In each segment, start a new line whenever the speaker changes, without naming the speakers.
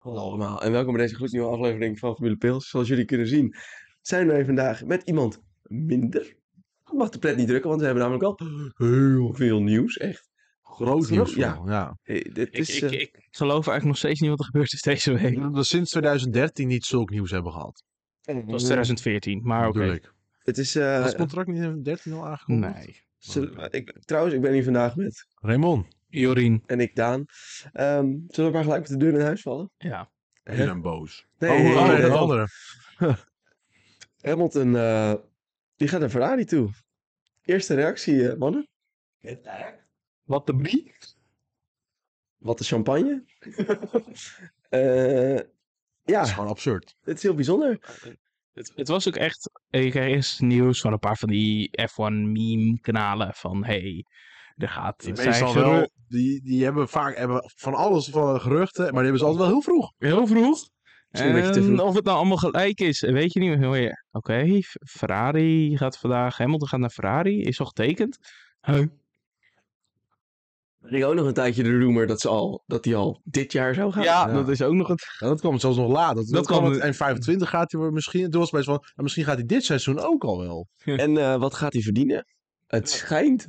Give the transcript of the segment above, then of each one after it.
Hallo allemaal en welkom bij deze gloednieuwe aflevering van Formule Pils. Zoals jullie kunnen zien zijn wij vandaag met iemand minder. Ik mag de pret niet drukken, want we hebben namelijk al heel veel nieuws. Echt groot nieuws. Ja,
vooral, ja.
eh, dit
Ik,
is,
ik,
eh,
ik geloof eigenlijk nog steeds niet wat er gebeurd is deze
Ik
week.
denk dat we sinds 2013 niet zulk nieuws hebben gehad.
Dat was 2014, maar oké.
bedoel ik.
het eh, is... eh,
Was het contract niet in 13 al aangekondigd?
Nee.
zullen- ik, trouwens, ik ben hier vandaag met
Raymond.
Jorien.
en ik Daan. Ehm, zullen we maar gelijk met de deur in huis vallen?
Ja.
Die
Hè?
zijn boos.
Nee,
oh,
nee,
oh,
nee,
dat
nee.
andere.
Hamilton, eh, die gaat naar Ferrari toe. Eerste reactie, eh, mannen.
Wat de brie?
Wat de champagne. Eh,
Dat is
ja,
gewoon absurd.
het is heel bijzonder.
Het, het was ook echt... Ik kreeg eerst nieuws van een paar van die F1 meme kanalen van... Hey, er gaat...
Die
zijn
meestal
geru-
wel, die, die hebben vaak hebben van alles van de geruchten, maar die hebben ze altijd wel heel vroeg.
Heel vroeg.
Misschien een beetje te
En
vroeg.
of het nou allemaal gelijk is, weet je niet meer. Hoor je, Oké, F- Ferrari gaat vandaag... Hamilton gaat naar Ferrari, is al getekend. Huh?
Er ging ook nog een tijdje de rumor dat, ze al, dat die al dit jaar zou gaan.
Ja,
Ja.
dat is ook nog het...
Ja, dat kwam zelfs nog laat. Dat, dat,
Dat
kwam
kwam-
het, en 25 gaat hij weer misschien. Toen was het best wel, en misschien gaat hij dit seizoen ook al wel.
En eh, wat gaat hij verdienen? Het schijnt.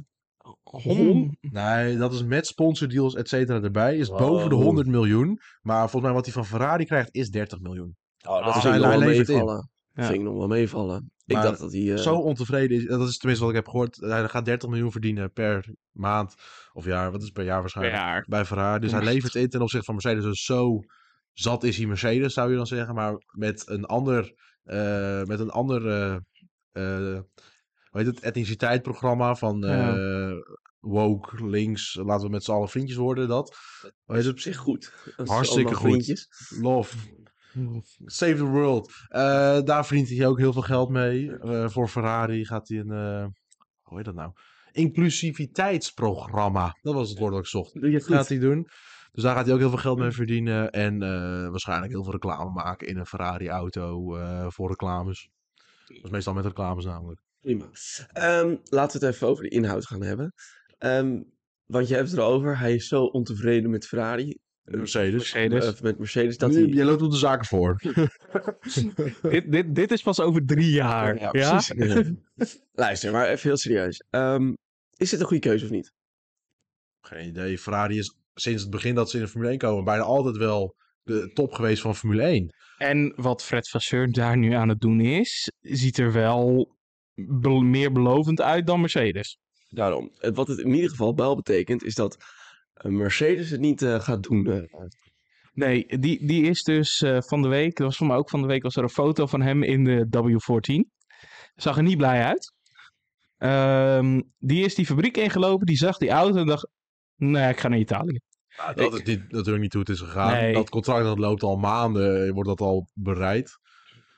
Hom.
Nee, dat is met sponsordeals, et cetera, erbij. Is
Wow.
boven de 100 miljoen. Maar volgens mij wat hij van Ferrari krijgt is 30 miljoen.
Oh,
Ah,
dat
hij-
ging nog
hij
wel
levert in.
meevallen. Dat
Ja.
ging nog wel meevallen. ik
Maar
dacht dat hij... eh,
zo ontevreden is. Dat is tenminste wat ik heb gehoord. eh, Hij gaat 30 miljoen verdienen per maand of jaar. Wat is het per jaar
Per
waarschijnlijk?
jaar.
Bij Ferrari. Dus hij
Maand.
levert in ten opzichte van Mercedes. Dus zo zat is hij Mercedes, zou je dan zeggen. Maar met een ander, eh, met een ander eh eh, hoe heet het, etniciteitsprogramma van
Ja.
eh, woke, links, laten we met z'n allen vriendjes worden, dat. Hoe heet
is
het?
op zich goed. Dat is
Hartstikke
allemaal
goed.
vriendjes.
Love. Save the world. Eh, daar verdient hij ook heel veel geld mee. Eh, voor Ferrari gaat hij een. eh, hoe heet dat nou? Inclusiviteitsprogramma. Dat was het woord dat ik zocht.
Doe je het
Dat gaat
goed.
hij doen. Dus daar gaat hij ook heel veel geld mee verdienen. En eh, waarschijnlijk heel veel reclame maken in een Ferrari-auto eh, voor reclames. Dat is meestal met reclames namelijk.
Prima. Ehm, laten we het even over de inhoud gaan hebben. Ehm, want je hebt het erover. Hij is zo ontevreden met Ferrari.
Mercedes.
Mercedes.
eh, met Mercedes. Dat
Dat
hij...
Jij loopt op de zaken voor.
dit, dit, dit is pas over drie jaar. Ja,
precies. Luister, maar even heel serieus. Ehm, is dit een goede keuze of niet?
Geen idee. Ferrari is sinds het begin dat ze in de Formule 1 komen bijna altijd wel de top geweest van Formule 1.
En wat Fred Vasseur daar nu aan het doen is, ziet er wel bel- meer belovend uit dan Mercedes.
Daarom. Het- Wat het in ieder geval wel betekent, is dat eh, Mercedes het niet eh, gaat doen. eh.
Nee, die, die is dus eh, van de week, dat was voor mij ook van de week, was er een foto van hem in de W14. Zag er niet blij uit. Ehm, die is die fabriek ingelopen, die zag die auto en dacht, nee, ik ga naar Italië.
Nou, dat is niet, natuurlijk niet hoe het is gegaan.
Nee.
Dat contract dat loopt al maanden, eh, wordt dat al bereid.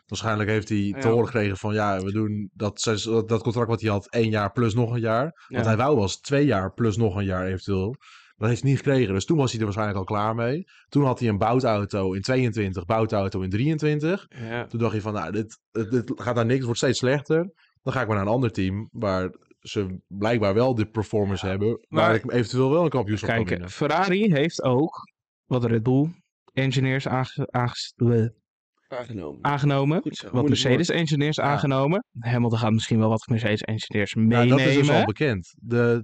Waarschijnlijk heeft hij te
Ja.
horen gekregen van ja, we doen dat, zes- dat contract wat hij had één jaar plus nog een jaar.
Ja.
Want hij wou was twee jaar plus nog een jaar eventueel. Dat heeft hij niet gekregen. Dus toen was hij er waarschijnlijk al klaar mee. Toen had hij een boutauto in 22, boutauto in 23.
Ja.
Toen dacht hij van nou, dit, dit dit gaat naar niks, het wordt steeds slechter. Dan ga ik maar naar een ander team waar ze blijkbaar wel de performance hebben. Waar
Maar-
ik eventueel wel een kampioenschap kan
Kijk,
winnen.
Ferrari heeft ook, wat Red Bull, engineers aange- aanges-
Aangenomen.
aangenomen.
Goed zo.
Ah, wat
Moeilijk woord.
Mercedes-engineers
Ja.
aangenomen. Hamilton gaat misschien wel wat Mercedes-engineers
Ja,
meenemen.
dat is dus al bekend. De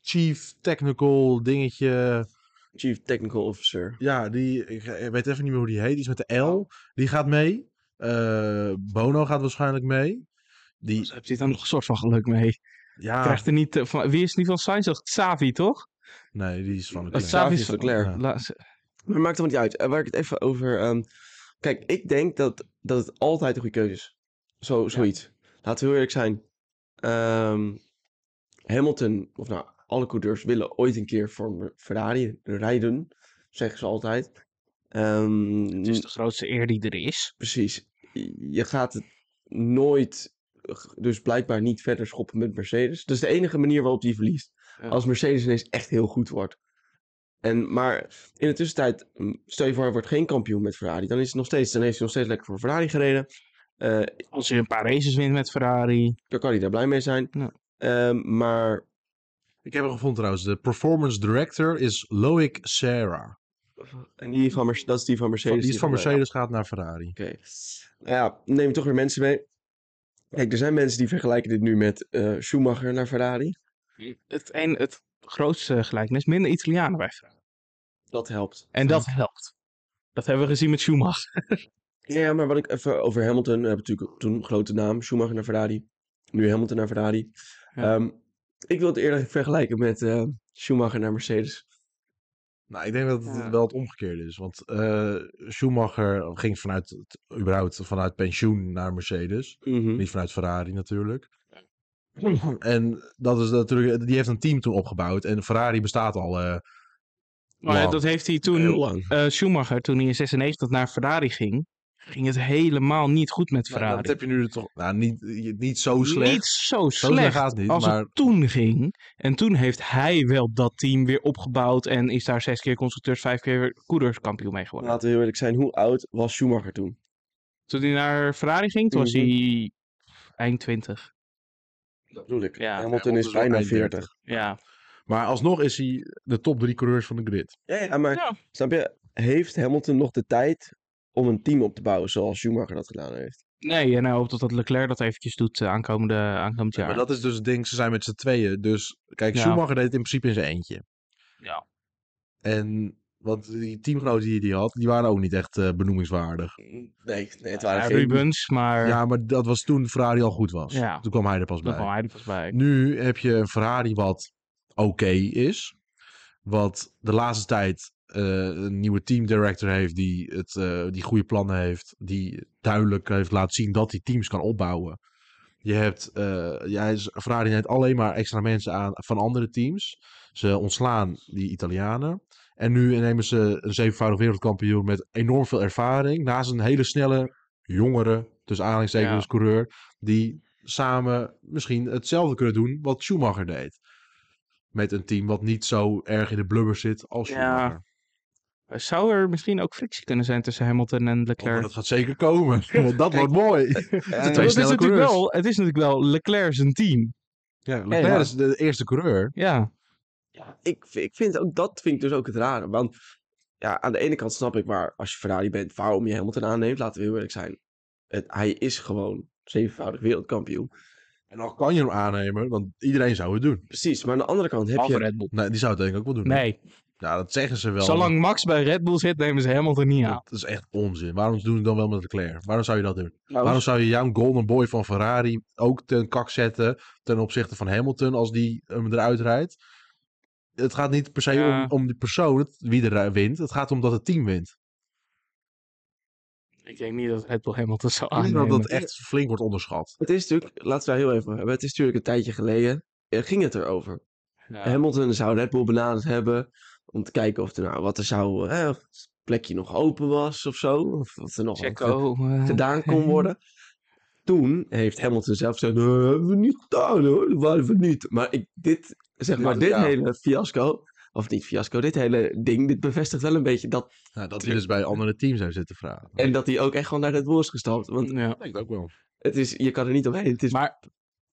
chief technical dingetje.
Chief Technical Officer.
Ja, die, ik ik weet even niet meer hoe die heet. Die is met de L. Die gaat mee. Eh, Bono gaat waarschijnlijk mee. Die,
Dus Heb je daar nog een soort van geluk mee?
ja,
Krijgt er niet, eh, van, wie is die van Sainz? Dat is Xavi, toch?
nee, die is van de
Dat
Dat
is
Leclerc.
Xavi van
Mm.
Leclerc.
Ja.
La- ze-
Maar maakt het niet uit. Eh, Waar ik het even over... ehm, kijk, ik denk dat, dat het altijd een goede keuze is. Zo, zoiets. Laten we heel eerlijk zijn. Ehm, Hamilton, of nou, alle coureurs willen ooit een keer voor Mer- Ferrari rijden. Zeggen ze altijd. Ehm,
Het is dus de grootste eer die er is.
Precies. Je gaat het nooit, dus blijkbaar niet verder schoppen met Mercedes. Dat is de enige manier waarop die verliest.
Ja.
Als Mercedes ineens echt heel goed wordt. En, maar in de tussentijd, mm, stel je voor hij wordt geen kampioen met Ferrari. Dan, is het nog steeds, dan heeft hij nog steeds lekker voor Ferrari gereden. Eh,
Als je een paar races wint met Ferrari.
dan kan hij daar blij mee zijn.
Ja.
Ehm, maar,
Ik heb hem gevonden trouwens. De performance director is Loic Serra.
En die van Merce- dat is die van Mercedes.
die is van
Ferrari.
Mercedes gaat naar Ferrari.
Oké. Nou ja, neem toch weer mensen mee. Kijk, er zijn mensen die vergelijken dit nu met eh, Schumacher naar Ferrari.
Het, een, het grootste gelijkenis, minder Italianen bij Ferrari.
Dat helpt.
En dat helpt. Dat hebben we gezien met Schumacher.
Ja, maar wat ik even over Hamilton. We hebben natuurlijk toen een grote naam. Schumacher naar Ferrari. Nu Hamilton naar Ferrari.
Ja.
Ehm, ik wil het eerder vergelijken met eh, Schumacher naar Mercedes.
Nou, ik denk dat het
Ja.
wel het omgekeerde is. Want eh, Schumacher ging vanuit, het- überhaupt vanuit pensioen naar Mercedes.
Mhm.
Niet vanuit Ferrari natuurlijk. En dat is natuurlijk, die heeft een team toen opgebouwd. En Ferrari bestaat al. eh,
Maar ja,
Wow.
dat heeft hij toen,
Heel lang.
eh, Schumacher, toen hij in 96 naar Ferrari ging, ging het helemaal niet goed met
nou, dat
Ferrari.
heb je nu er toch. Nou, niet, niet zo slecht.
Niet zo
zo slecht,
slecht
gaat het niet.
als
Maar
het toen ging. En toen heeft hij wel dat team weer opgebouwd en is daar zes keer constructeurs, vijf keer coureurskampioen mee geworden.
Laten we heel eerlijk zijn. Hoe oud was Schumacher toen?
Toen hij naar Ferrari ging, toen was
Mhm.
hij eind 20.
Dat bedoel ik.
Ja,
Hamilton
Hamilton
is
is wel
bijna
eind
40.
Ja.
Maar alsnog is hij de top drie coureurs van de grid.
Ja, ja, maar
Ja.
snap je? Heeft Hamilton nog de tijd om een team op te bouwen zoals Schumacher dat gedaan heeft?
Nee, en hij hoopt dat Leclerc dat eventjes doet eh, aankomende, aankomend jaar.
Maar dat is dus het ding, ze zijn met z'n tweeën. Dus kijk,
Ja.
Schumacher deed het in principe in zijn eentje.
Ja.
En want die teamgenoten die hij had, die waren ook niet echt eh, benoemingswaardig.
Nee, nee het
Ja,
waren geen...
Rubens, maar
Ja, maar dat was toen Ferrari al goed was.
Ja.
Toen kwam hij er pas
daar
bij.
kwam hij er pas bij.
Nu heb je een Ferrari wat oké is. Wat de laatste tijd eh, een nieuwe team director heeft die, het, eh, die goede plannen heeft. Die duidelijk heeft laten zien dat hij teams kan opbouwen. Je hebt, eh, ja, is- Ferrari neemt alleen maar extra mensen aan van andere teams. Ze ontslaan die Italianen. En nu nemen ze een zevenvoudig wereldkampioen met enorm veel ervaring. Naast een hele snelle, jongere, tussen aanhalingstekens,
Ja.
coureur. Die samen misschien hetzelfde kunnen doen wat Schumacher deed. Met een team wat niet zo erg in de blubber zit als
Ja,
Schumacher. Oh,
Eh, Zou er misschien ook frictie kunnen zijn tussen Hamilton en
maar
Leclerc?
dat gaat zeker komen. dat wordt mooi.
Eh,
twee
Want het,
snelle
is natuurlijk
coureurs.
wel, het is natuurlijk wel Leclerc zijn team.
Ja, Leclerc
Ja.
is de eerste coureur.
Ja,
Ja, ik, v- ik vind ook dat vind ik dus ook het rare. Want ja, aan de ene kant snap ik maar als je Ferrari bent, waarom je Hamilton aanneemt, laten we heel eerlijk zijn. Het, hij is gewoon zevenvoudig wereldkampioen.
En dan kan je hem aannemen, want iedereen zou het doen.
Precies, maar aan de andere kant heb
behalve
je.
Red Bull.
Nee, die zou het denk ik ook wel doen.
Nee,
Ja, dat zeggen ze wel.
zolang Max bij Red Bull zit, nemen ze Hamilton niet aan.
Dat is echt onzin. Waarom doen ze dan wel met Leclerc? Waarom zou je dat doen? Waarom
trouwens,
zou je jouw golden boy van Ferrari ook ten kak zetten ten opzichte van Hamilton als die hem eruit rijdt? Het gaat niet per se
Ja.
om, om die persoon, wie er eh, wint. Het gaat om dat het team wint.
Ik denk niet dat Red Bull Hamilton zou
Ik denk dat
aannemen.
dat echt flink wordt onderschat.
het is natuurlijk, laten we daar heel even over hebben. Het is natuurlijk een tijdje geleden. eh, ging het erover?
Ja.
Hamilton zou Red Bull benaderd hebben. Om te kijken of er nou wat er zou. eh, of het plekje nog open was of zo. Of wat er nog aan ge-
Checo, eh,
gedaan kon worden. Toen heeft Hamilton zelf gezegd: "Nee, dat hebben we niet gedaan hoor, dat waren we niet. Maar ik, dit, zeg maar, dit
ja.
hele fiasco, of niet fiasco, dit hele ding, dit bevestigt wel een beetje dat.
Nou, dat hij dus bij andere teams heeft zitten vragen.
En dat hij ook echt gewoon naar Red Bull is gestapt. Want
ja.
denk het ook wel.
het is, je kan er niet omheen. Het is,
Mm. Maar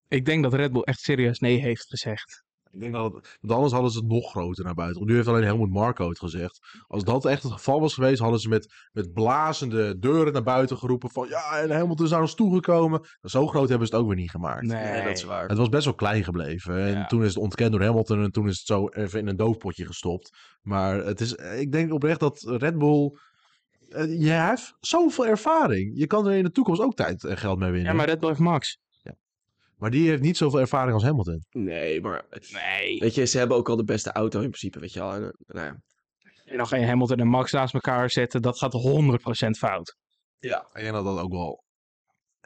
ik denk dat Red Bull echt serieus nee heeft gezegd.
Ik denk dat het- want anders hadden ze het nog groter naar buiten. Nu heeft alleen Helmut Marko het gezegd. Als dat echt het geval was geweest, hadden ze met, met blazende deuren naar buiten geroepen van ja, en Hamilton is naar ons toegekomen. Zo groot hebben ze het ook weer niet gemaakt.
nee,
Nee.
dat is waar.
Het was best wel klein gebleven. En
Ja.
toen is het ontkend door Hamilton. En toen is het zo even in een doofpotje gestopt. Maar het is, ik denk oprecht dat Red Bull. eh, Je hebt zoveel ervaring. Je kan er in de toekomst ook tijd en geld mee winnen.
Ja, maar
maar...
Red Bull heeft Max.
die heeft niet zoveel ervaring als Hamilton.
Nee, maar.
Nee.
Weet je, ze hebben ook al de beste auto in principe, weet je al. En, eh, nou ja.
En dan ga je Hamilton en Max naast elkaar zetten, dat gaat 100% fout.
Ik denk dat dat ook wel.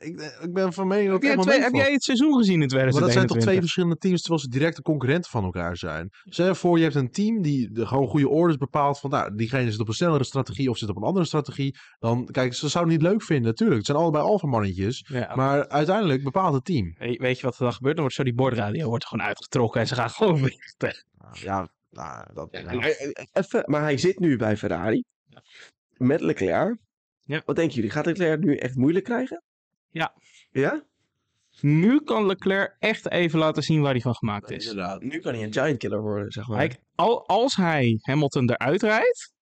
Ik, eh, ik ben van mening dat
Heb jij,
het
het,
helemaal
heb
meevalt.
jij het seizoen gezien in
Maar dat zijn toch
2021?
twee verschillende teams, terwijl ze directe concurrenten van elkaar zijn. Stel je voor, je hebt een team die de gewoon goede orders bepaalt. Van nou, diegene zit op een snellere strategie of zit op een andere strategie. Dan, kijk, ze zouden het niet leuk vinden, natuurlijk. Het zijn allebei alfamannetjes.
Ja.
Maar uiteindelijk bepaalt het team.
Weet weet je wat er dan gebeurt? Dan wordt zo die bordradio wordt gewoon uitgetrokken en ze gaan gewoon weer weg.
Ja, nou, dat,
En hij- hij- Even, maar hij zit nu bij Ferrari. Met Leclerc.
Ja.
Wat denken jullie? Gaat Leclerc het nu echt moeilijk krijgen?
Ja.
Ja?
Nu kan Leclerc echt even laten zien waar hij van gemaakt is.
inderdaad.
Nu kan hij een giant killer worden, zeg maar.
Hij, al, als hij Hamilton eruit rijdt,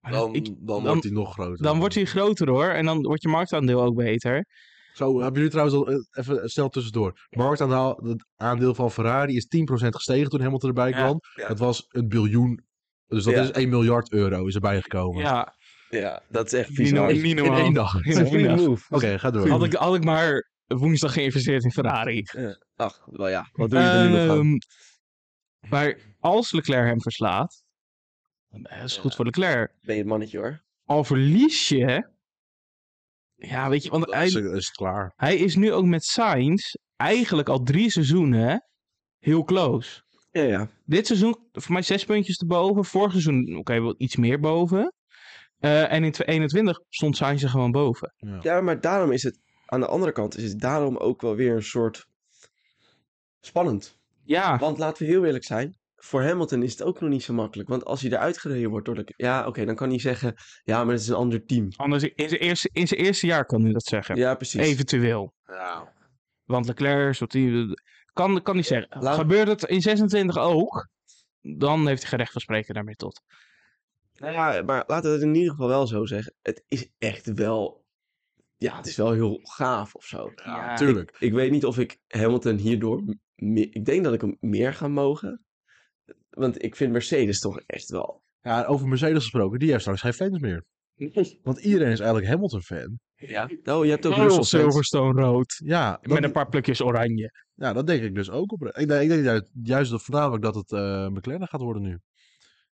Dan,
Ik-
dan,
dan-
wordt hij nog groter.
Dan wordt hij groter hoor. En dan wordt je marktaandeel ook beter.
Zo, hebben jullie trouwens al eh, even snel tussendoor. Marktaandeel het aandeel van Ferrari is 10% gestegen toen Hamilton erbij
Ja.
kwam.
Ja.
Dat was een biljoen. Dus dat
Ja.
is 1 miljard euro is erbij gekomen.
Ja,
Ja, dat is echt
niet,
bizar.
no- niet
In één
normaal.
dag. Oké,
Dat is een goede move.
ga door.
Had ik, had ik maar woensdag geïnvesteerd in Ferrari.
Ach, wel ja. Wat doe je er nu nog aan?
Ehm, maar als Leclerc hem verslaat, dat is goed
Ja.
voor Leclerc.
Ben je het mannetje hoor.
Al verlies je, ja weet je, want
Dan is,
hij,
het- is het klaar.
hij is nu ook met Sainz eigenlijk al drie seizoenen heel close.
Ja, ja.
Dit seizoen voor mij zes puntjes erboven. Vorig seizoen, oké, wel iets meer boven. Eh, en in 2021 stond Sainz er gewoon boven.
Ja, maar daarom is het... Aan de andere kant is het daarom ook wel weer een soort... Spannend.
Ja,
Want laten we heel eerlijk zijn. Voor Hamilton is het ook nog niet zo makkelijk. Want als hij eruit gereden wordt door de... Ja, oké, dan kan hij zeggen... Ja, maar het is een ander team.
anders in zijn eerste, in zijn eerste jaar kan hij dat zeggen.
Ja, precies.
Eventueel.
Ja.
Want Leclerc, soort die, kan, kan niet zeggen.
Laat-
Gebeurt het in 26 ook, dan heeft hij geen recht van spreken daarmee tot.
Nou ja, maar laten we het in ieder geval wel zo zeggen. Het is echt wel... Ja, het is wel heel gaaf of zo.
Ja.
tuurlijk.
Ik weet niet of ik Hamilton hierdoor... me- Ik denk dat ik hem meer ga mogen. Want ik vind Mercedes toch echt wel...
Ja, en over Mercedes gesproken, die heeft straks geen fans meer. Want iedereen is eigenlijk Hamilton-fan.
Ja. Oh, je hebt ook Russell fans.
Silverstone rood.
Ja,
Met
dat,
een paar plukjes oranje.
ja, dat denk ik dus ook op. Ik denk, ik denk juist, juist dat voornamelijk dat het eh, McLaren gaat worden nu.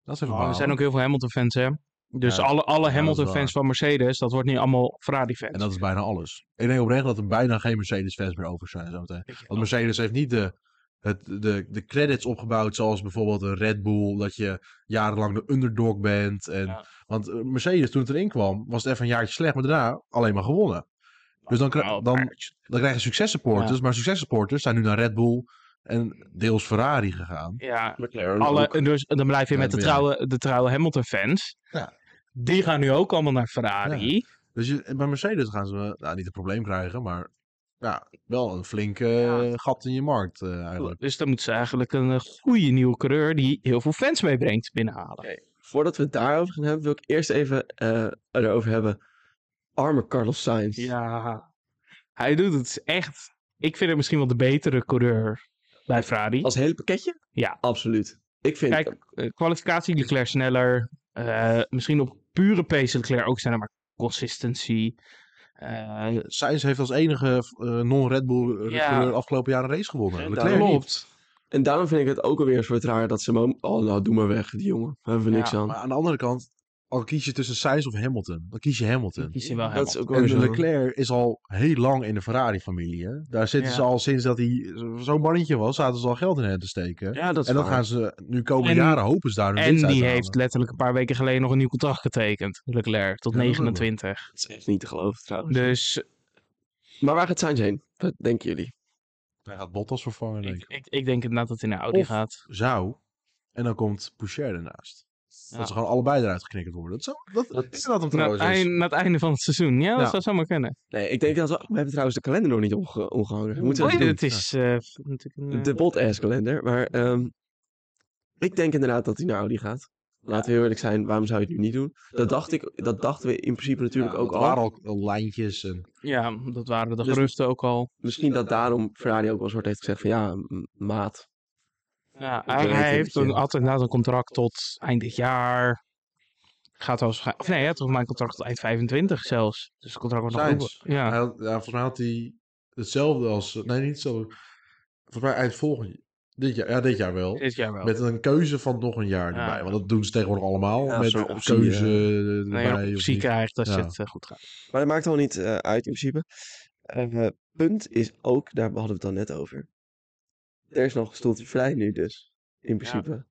Dat is even
er Oh, zijn ook heel veel Hamilton-fans, hè? Dus
Ja,
alle, alle
is waar.
Hamilton-fans van Mercedes, dat wordt niet allemaal Ferrari-fans.
En dat is bijna alles. Ik denk oprecht dat er bijna geen Mercedes-fans meer over zijn. Zo meteen.
Weet je wel.
Want Mercedes heeft niet de, het, de, de credits opgebouwd zoals bijvoorbeeld een Red Bull. Dat je jarenlang de underdog bent. En,
Ja.
Want eh, Mercedes toen het erin kwam was het even een jaartje slecht. Maar daarna alleen maar gewonnen. Dus dan, kra-
Nou,
dan,
maar-
dan krijg je successupporters. Maar successupporters zijn nu naar Red Bull en deels Ferrari gegaan.
Ja,
McLaren
alle,
ook.
dus dan blijf je
Ja,
met de
ja.
trouwe, de trouwe Hamilton-fans.
Ja.
Die gaan nu ook allemaal naar Ferrari.
Dus je, en bij Mercedes gaan ze eh, nou, niet een probleem krijgen. Maar ja, wel een flinke eh, gat in je markt eh, eigenlijk.
Dus dan moeten ze eigenlijk een eh, goede nieuwe coureur die heel veel fans meebrengt binnenhalen.
Voordat we het daarover gaan hebben, wil ik eerst even eh, erover hebben. Arme Carlos Sainz.
Ja, hij doet het echt. Ik vind hem misschien wel de betere coureur bij Ferrari.
Als hele pakketje?
Ja.
Absoluut. Ik vind...
Kijk, eh, kwalificatie Leclerc sneller. Eh, misschien op pure pace Leclerc ook sneller, maar consistency. Eh,
Sainz heeft als enige eh, non-Red Bull
Ja.
coureur afgelopen jaar een race gewonnen.
Ja,
Leclerc
daarom.
niet.
klopt.
En daarom vind ik het ook alweer een soort raar dat ze hem... ook- Oh, nou, doe maar weg, die jongen. Daar hebben we
Ja,
niks aan.
Maar aan de andere kant, al kies je tussen Sainz of Hamilton, dan kies je Hamilton.
Kies je wel
Dat is
Hamilton.
ook wel
En
weer zo.
Leclerc is al heel lang in de Ferrari-familie. hè. Daar zitten
Ja.
ze al sinds dat hij zo- zo'n mannetje was, zaten ze al geld in hem te steken.
Ja, dat is
en dat
waar.
gaan ze nu komende
En-
jaren hopen ze daar hun
En
winst uit te
die
halen.
heeft letterlijk een paar weken geleden nog een nieuw contract getekend. Leclerc, tot
Ja, dat
29.
Dat is echt niet te geloven, trouwens.
Dus
Maar waar gaat Sainz heen? Wat denken jullie?
Hij gaat Bottas vervangen, denk
ik,
ik.
ik, ik denk inderdaad dat hij naar Audi
Of-
gaat.
Zou. En dan komt Poucher ernaast.
Ja. Nou,
Dat ze gewoon allebei eruit geknikkerd worden. Dat zou, dat,
Dat-
ik denk dat hem
Na
trouwens
het,
is.
eind- na het einde van het seizoen. Ja, dat
Ja.
zou zomaar kunnen.
Nee, ik denk dat we... oh, we hebben trouwens de kalender nog niet omge- omgehangen. We Moeten
Oh,
we
ja,
even
het is eh, natuurlijk een,
doen.
eh,
De bot-ass kalender. Maar ehm, ik denk inderdaad dat hij naar Audi gaat. Laten we heel eerlijk zijn, waarom zou je het nu niet doen? Dat, dacht ik, dat dachten we in principe natuurlijk
Ja,
ook
dat
al.
waren al al lijntjes. En,
eh, Ja, dat waren de
Dus-
geruchten ook al.
Misschien dat daarom Ferrari ook wel een soort heeft gezegd van ja, m- maat.
Ja,
weet
hij
het
hij heeft
niet,
een,
ja.
had inderdaad een contract tot eind dit jaar. Gaat wel waarschijnlijk... Of nee, hij had volgens mij een contract tot eind 25 zelfs. Dus het contract wordt nog
Sainz.
open. Ja.
Hij had- ja, volgens mij had hij hetzelfde als... Nee, niet hetzelfde. Volgens mij eind volgend dit jaar. Ja, dit jaar wel.
dit jaar wel.
Met een keuze van nog een jaar erbij. Want dat doen ze tegenwoordig allemaal.
Ja,
met
zo'n
een
optie,
keuze
Nee,
erbij.
een
of
optie
niet.
krijgt als
Ja.
het eh, goed gaat.
Maar dat maakt al niet eh, uit in principe. Eh, punt is ook, daar hadden we het dan net over. Er is nog een stoeltje vrij nu dus. In principe.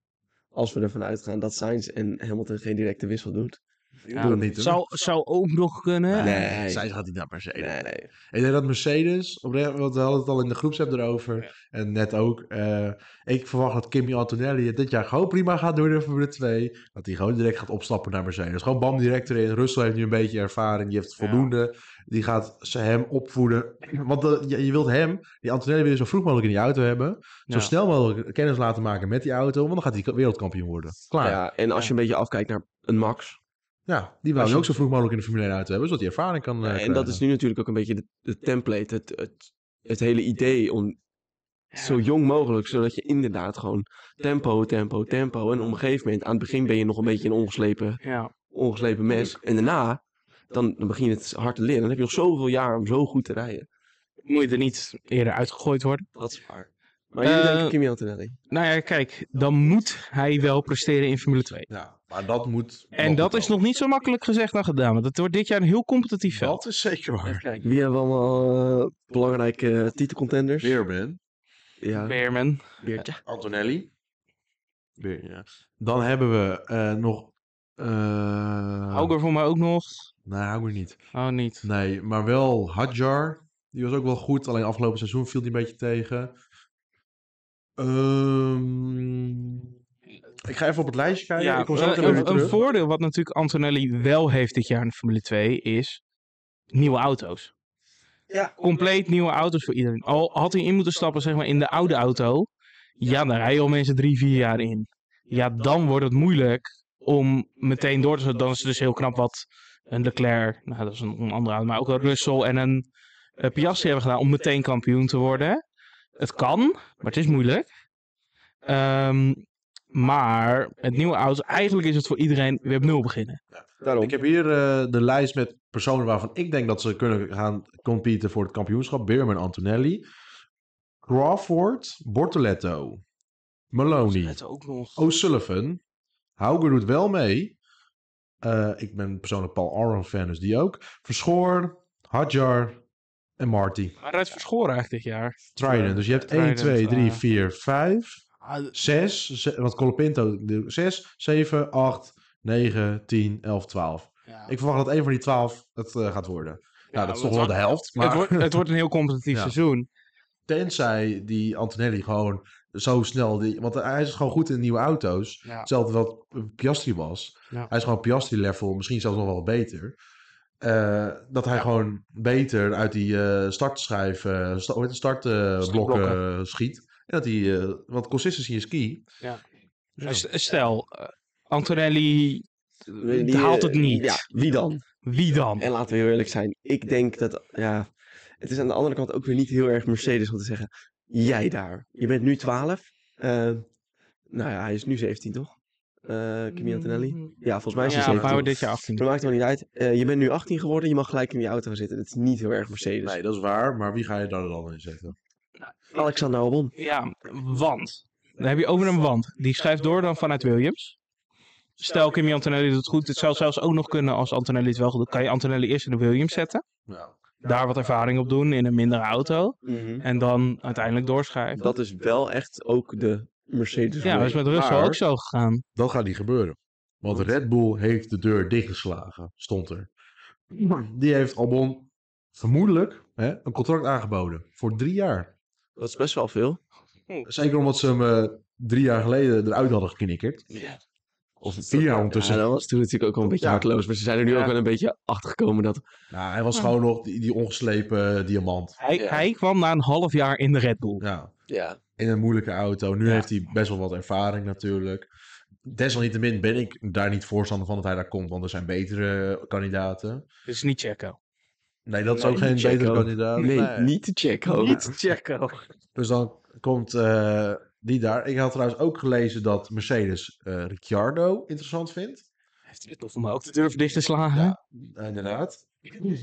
Als we ervan uitgaan dat Sainz en Hamilton geen directe wissel doet.
Ik doe dat niet, hoor.
zou, zou ook nog kunnen.
Nee.
Zij gaat nou niet naar Mercedes.
Nee, nee.
Ik denk dat Mercedes, oprecht, want we hadden het al in de groepsapp erover. En net ook. eh, ik verwacht dat Kimi Antonelli het dit jaar gewoon prima gaat doen in Formule 2. Dat hij gewoon direct gaat opstappen naar Mercedes. Gewoon bam direct erin. Russell heeft nu een beetje ervaring. Die heeft
Ja.
voldoende. Die gaat ze hem opvoeden. Want dat- je, je wilt hem, die Antonelli, weer zo vroeg mogelijk in die auto hebben. Zo
Ja.
snel mogelijk kennis laten maken met die auto. Want dan gaat hij wereldkampioen worden. Klaar.
Ja, en als je een beetje afkijkt naar een Max.
Ja, die wou
Als
je
je-
ook zo vroeg mogelijk in de Formule 1 uit hebben, zodat die ervaring kan eh,
Ja, en
krijgen.
dat is nu natuurlijk ook een beetje de, de template, het, het, het hele idee om zo jong mogelijk, zodat je inderdaad gewoon tempo, tempo, tempo. En op een gegeven moment, aan het begin ben je nog een beetje een ongeslepen,
Ja.
ongeslepen mes. En daarna, dan, dan begin je het hard te leren. Dan heb je nog zoveel jaar om zo goed te rijden.
Moet je er niet eerder uitgegooid worden.
Dat is waar. Maar jullie
Eh,
denken Kimi Antonelli.
Nou ja, kijk, dan moet hij wel presteren in Formule 2.
Ja, maar dat moet...
En dat is nog niet zo makkelijk gezegd dan gedaan. Want het wordt dit jaar een heel competitief veld.
Dat is zeker waar.
Kijk, wie hebben we allemaal eh, belangrijke eh, titelcontenders?
Weerman,
Ja,
Weerman.
Beertje.
Antonelli. Weer, ja. Dan hebben we eh, nog... eh
Auger voor mij ook nog.
Nee, Hauger niet.
Oh, niet.
Nee, maar wel Hadjar. Die was ook wel goed, alleen afgelopen seizoen viel die een beetje tegen. Ehm, ik ga even op het lijstje kijken.
Ja, eh,
ik kom zo meteen
een-
weer
een,
terug.
voordeel wat natuurlijk Antonelli wel heeft dit jaar in de Formule 2 is nieuwe auto's.
Ja.
Compleet nieuwe auto's voor iedereen. Al had hij in moeten stappen zeg maar, in de oude auto, ja, dan rijden al mensen drie, vier jaar in. Ja, dan wordt het moeilijk om meteen door te zetten. Dan is het dus heel knap wat een Leclerc, nou dat is een, een andere auto, maar ook een Russell en een eh, Piastri hebben gedaan om meteen kampioen te worden. Het kan, maar het is moeilijk. Ehm, maar het nieuwe auto, eigenlijk is het voor iedereen weer op nul beginnen.
Daarom.
Ik heb hier eh, de lijst met personen waarvan ik denk dat ze kunnen gaan competen voor het kampioenschap. Beerman Antonelli. Crawford, Bortoletto, Maloney,
ook nog.
O'Sullivan. Hauger doet wel mee. Eh, ik ben persoonlijk Paul Aron fan, dus die ook. Verschoor, Hadjar en Marty.
Maar rijdt Verschoren eigenlijk dit jaar.
Trident. Dus je hebt 1,
Trident,
2, 3,
eh.
4, 5,
Ah,
6. Want Colapinto 6, 7, 8, 9, 10, 11, 12. Ik verwacht dat één van die twaalf het eh, gaat worden. nou, dat is toch wel de helft. Maar
Het, wordt, het wordt een heel competitief
Ja.
seizoen.
tenzij die Antonelli gewoon zo snel... Die, want hij is gewoon goed in nieuwe auto's.
Ja.
Hetzelfde wat Piastri was.
Ja.
Hij is gewoon Piastri-level, misschien zelfs nog wel beter. Eh, dat hij gewoon beter uit die eh startschijf, eh, sta- hoe heet het, startblokken
Startblokken.
schiet. En dat hij, eh, want consistency is key.
Ja.
Dus ja.
S- Stel, eh, Antonelli
Die, eh,
haalt het niet.
Ja, wie dan?
Wie dan?
En laten we heel eerlijk zijn. Ik denk dat, ja, het is aan de andere kant ook weer niet heel erg Mercedes om te zeggen, jij daar. Je bent nu 12. Eh, nou ja, hij is nu 17 toch? Eh Kimi
Mm,
Antonelli? Ja, volgens mij is hij
Ja,
17.
maar we dit jaar 18.
Dat maakt het wel niet uit. Eh, je bent nu 18 geworden, je mag gelijk in die auto gaan zitten. Dat is niet heel erg Mercedes.
Nee, dat is waar. Maar wie ga je daar dan in zetten?
Alexander Albon.
Ja, want. Dan heb je over een want. Die schrijft door dan vanuit Williams. Stel, Kimi Antonelli doet het goed. Het zou zelfs ook nog kunnen als Antonelli het wel goed doet. Kan je Antonelli eerst in de Williams zetten.
Nou,
Daar wat ervaring op doen in een mindere auto. En dan uiteindelijk doorschrijven.
Dat is wel echt ook de Mercedes.
Ja,
way.
dat is met Russell
Maar-
ook zo gegaan.
Dat gaat niet gebeuren. Want Red Bull heeft de deur dichtgeslagen, stond er. Die heeft Albon vermoedelijk hè, een contract aangeboden voor drie jaar.
Dat is best wel veel.
Zeker omdat ze hem eh, drie jaar geleden eruit hadden geknikkerd. Of vier jaar ondertussen.
Ja, dat was toen natuurlijk ook wel een beetje
Ja.
harteloos. Maar ze zijn er nu
Ja.
ook wel een beetje achter gekomen dat
Nou, hij was gewoon nog die, die ongeslepen eh, diamant.
Hij,
Ja.
hij kwam na een half jaar in de Red Bull.
Ja,
ja,
in een moeilijke auto. Nu
Ja.
heeft hij best wel wat ervaring natuurlijk. Desalniettemin ben ik daar niet voorstander van dat hij daar komt. Want er zijn betere eh, kandidaten.
Dus niet Checo.
Nee, dat is
Nee,
ook geen
niet Checo.
betere kandidaat.
nee, niet te checken. hoor.
Checo.
Dus dan komt eh, die daar. Ik had trouwens ook gelezen dat Mercedes eh, Ricciardo interessant vindt.
Heeft het tof om ook de durven dicht te slagen?
Ja. Eh, inderdaad.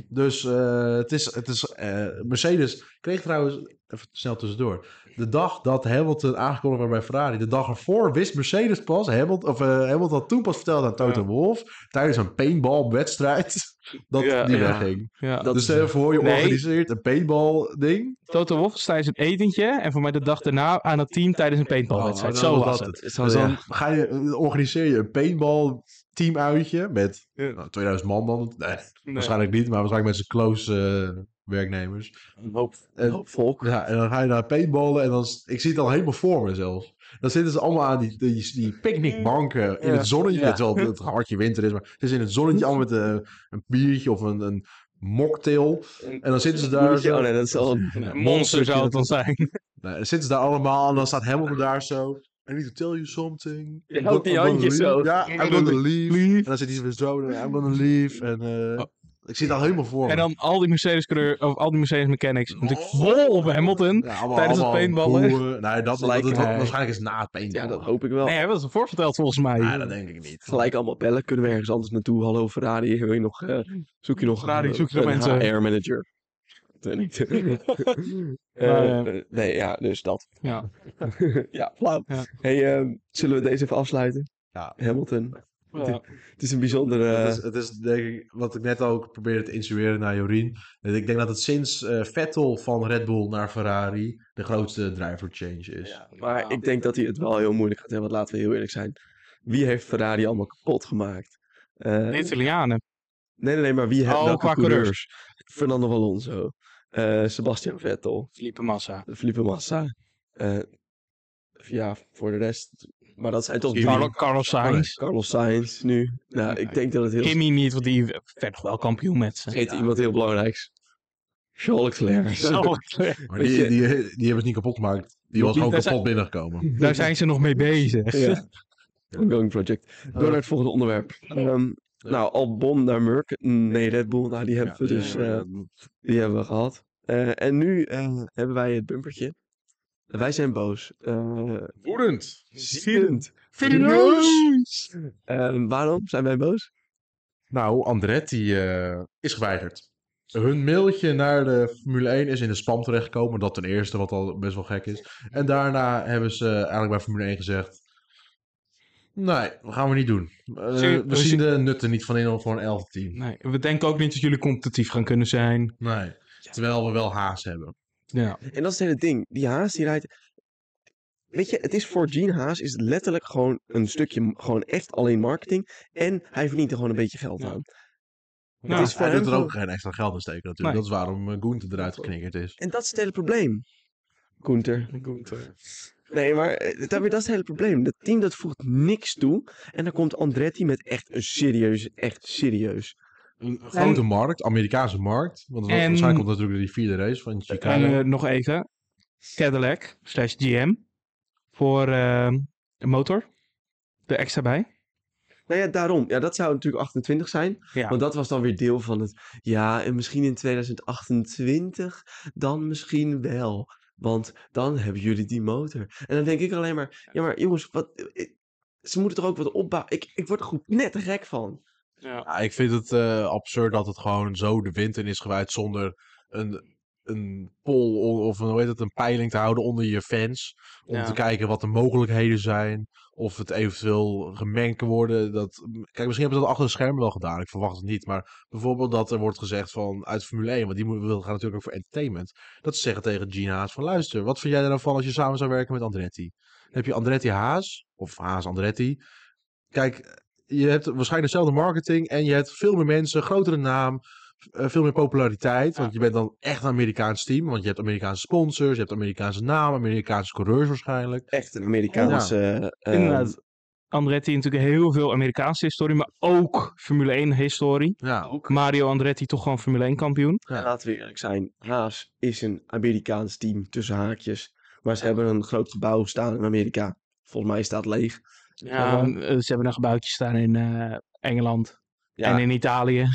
Dus eh, het is. Het is eh, Mercedes kreeg trouwens. Even snel tussendoor. De dag dat Hamilton aangekondigd werd bij Ferrari. De dag ervoor wist Mercedes pas. Hamilton, of, eh, Hamilton had toen pas verteld aan Toto
Ja.
Wolff. Tijdens een paintball-wedstrijd. Dat
Ja,
die
ja.
wegging.
Ja.
Dat
dus stel je voor, je
Nee.
organiseert een paintball-ding.
Toto Wolff is tijdens een etentje en voor mij de dag daarna aan het team tijdens een paintballwedstrijd.
Oh,
zo
dan
was
was
het.
dat
is wel-
Dus dan
ja.
ga je, eh, organiseer je een paintball teamuitje met nou, 2000 man dan. Nee, waarschijnlijk niet, maar waarschijnlijk met zijn close eh, werknemers.
Een hoop,
En-
een hoop volk.
Ja, en dan ga je naar paintballen en dan, s- ik zie het al helemaal voor me zelfs. Dan zitten ze allemaal aan die, die, die picknickbanken in
Ja.
het zonnetje.
Ja.
Terwijl het, het hartje winter is, maar ze zitten in het zonnetje allemaal met eh, een biertje of een, een mocktail. En dan zitten ze daar...
Moet je-
zo-
oh nee, dat is al.
Monster zou het dan zijn.
Nou, dan zitten ze daar allemaal en dan staat Hamilton daar zo. I need to tell you something.
Je houdt die handjes zo.
Ja, I'm gonna leave. En dan zit hij zo weer zo, I'm gonna leave. En eh,
Oh.
ik zit al helemaal voor
En
me.
dan al die Mercedes coureur, of al die Mercedes mechanics natuurlijk
Oh.
vol op Hamilton.
Ja, allemaal-
tijdens het
allemaal
paintballen.
boeien. Nee, dat, dat,
Gelijk,
dat-
nee.
waarschijnlijk is na het paintballen.
Ja, dat hoop ik wel.
Nee, dat is voorverteld volgens mij.
Ja, dat denk ik niet.
Gelijk allemaal bellen. Kunnen we ergens anders naartoe? Hallo Ferrari, wil je nog, eh, zoek je nog
Ferrari,
eh,
zoek je nog
een
mensen?
HR-manager? Dat weet ik niet. Eh,
Maar, eh,
eh, nee, ja, dus dat.
Ja.
ja, flauw.
Ja.
Hey, ehm, zullen we deze even afsluiten?
Ja.
Hamilton.
Ja.
Het is een eh, bijzondere...
het, is, het is denk ik, wat ik net ook probeerde te insinueren naar Jorien. Dat Ik denk dat het sinds eh, Vettel van Red Bull naar Ferrari de grootste driver change is.
Ja, maar ik denk dat hij het wel heel moeilijk gaat hebben. want Laten we heel eerlijk zijn. Wie heeft Ferrari allemaal kapot gemaakt? Eh,
De
nee,
Italianen.
nee, nee, maar wie heeft
Oh,
welke
qua
coureurs? Fernando Alonso, eh, Sebastian Vettel,
Felipe Massa.
Felipe Massa. eh, ja, voor de rest. Maar dat zijn toch
Kimi.
drie.
Carlo- Carlos Sainz.
Carlos Sainz nu. Nou, ik denk dat het heel...
Kimmy niet, want die werd nog wel kampioen met ze.
Vergeet iemand heel belangrijks. Charles Leclerc.
Zo,
Maar
Weet
die,
je-
die, die hebben het niet kapot gemaakt. Die was
Niet,
gewoon
daar zijn-
kapot binnengekomen.
daar zijn ze nog mee bezig.
Ja. Ongoing project.
Oh.
Door naar het volgende onderwerp. Ehm, nou, Albon naar Merck. Nee, Red Bull. Nou, die hebben we
Ja,
dus
ja, ja.
eh, die hebben we gehad. Eh, en nu eh, hebben wij het bumpertje. Wij zijn boos. Eh
Woedend.
ziedend. Eh, waarom zijn wij boos?
Nou, Andretti eh, is geweigerd. Hun mailtje naar de Formule 1 is in de spam terechtgekomen. Dat ten eerste, wat al best wel gek is. En daarna hebben ze eh, eigenlijk bij Formule 1 gezegd... Nee, dat gaan we niet doen. Eh,
Zie-
we zien de nutten niet van in om voor een 11 team.
Nee, we denken ook niet dat jullie competitief gaan kunnen zijn.
Nee, terwijl we wel haas hebben.
Ja.
En dat is het hele ding. Die Haas die rijdt... Weet je, het is voor Gene Haas is letterlijk gewoon een stukje, m- gewoon echt alleen marketing. En hij verdient er gewoon een beetje geld
Ja.
aan.
Nou,
is- voor
Hij doet
hem
er ook
gewoon-
geen extra geld in steken natuurlijk. Dat
Nee.
is waarom eh, Gunther eruit geknikkerd is.
En dat is het hele probleem. Gunther. Nee, maar eh, dat, dat is het hele probleem. Dat team dat voegt niks toe. En dan komt Andretti met echt een serieus, echt serieus.
Een grote markt, Amerikaanse markt. Want
En-
waarschijnlijk komt natuurlijk door die vierde race van
en
Chicago.
eh, nog even. Cadillac slash GM. Voor eh, de motor. Er extra bij.
Nou ja, daarom. Ja, dat zou natuurlijk 28 zijn.
Ja.
Want dat was dan weer deel van het. Ja, en misschien in 2028 dan misschien wel. Want dan hebben jullie die motor. En dan denk ik alleen maar. Ja, maar jongens, wat, eh, ze moeten er ook wat opbouwen. Ik, ik word er goed net gek van.
Ja, ik vind het eh, absurd dat het gewoon zo de wind in is gewaaid zonder een, een poll o- of een, hoe heet het, een peiling te houden onder je fans. Om
Ja.
te kijken wat de mogelijkheden zijn. Of het eventueel gemengd kan worden. Dat, kijk, misschien hebben ze dat achter de schermen wel gedaan. Ik verwacht het niet. Maar bijvoorbeeld dat er wordt gezegd van uit Formule 1. Want die moet- wil- gaan natuurlijk ook voor entertainment. Dat ze zeggen tegen Gina Haas van luister. Wat vind jij er nou van als je samen zou werken met Andretti? Dan heb je Andretti Haas. Of Haas Andretti. Kijk, je hebt waarschijnlijk dezelfde marketing en je hebt veel meer mensen, grotere naam, eh, veel meer populariteit. Want je bent dan echt een Amerikaans team, want je hebt Amerikaanse sponsors, je hebt Amerikaanse naam, Amerikaanse coureurs waarschijnlijk.
Echt een Amerikaanse. eh,
Inderdaad. Andretti natuurlijk heel veel Amerikaanse historie, maar ook Formule 1 historie.
Ja,
Mario Andretti toch gewoon Formule 1 kampioen.
En laten we eerlijk zijn, Haas is een Amerikaans team tussen haakjes. Maar ze hebben een groot gebouw staan in Amerika. Volgens mij staat leeg.
Ja, eh, ze hebben een gebouwtje staan in eh, Engeland
Ja,
en in Italië.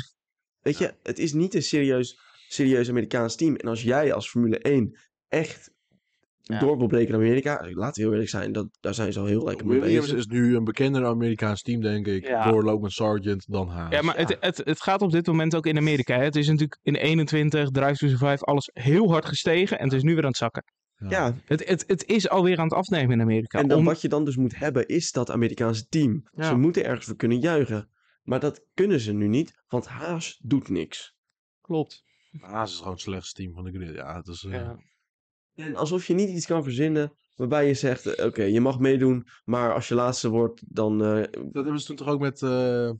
weet je, het is niet een serieus, serieus Amerikaans team. En als jij als Formule 1 echt
Ja.
door wil breken in Amerika, eh, laten we heel eerlijk zijn, dat, daar zijn ze al heel lekker mee
Williams
bezig.
is nu een bekender Amerikaans team, denk ik,
Ja.
door Logan Sargent dan Haas.
Ja, maar het, het, het gaat op dit moment ook in Amerika. Hè. Het is natuurlijk in 21, Drive to Survive, alles heel hard gestegen. En het is nu weer aan het zakken.
Ja,
Het, het, het is alweer aan het afnemen in Amerika.
en dan,
Om-
wat je dan dus moet hebben, is dat Amerikaanse team.
Ja.
Ze moeten ergens voor kunnen juichen. Maar dat kunnen ze nu niet, want Haas doet niks.
Klopt.
Haas is gewoon het slechtste team van de grid. Ja, het is, eh,
Ja.
En alsof je niet iets kan verzinnen waarbij je zegt: eh, oké, je mag meedoen, maar als je laatste wordt, dan. eh,
Dat hebben ze toen toch ook met... eh,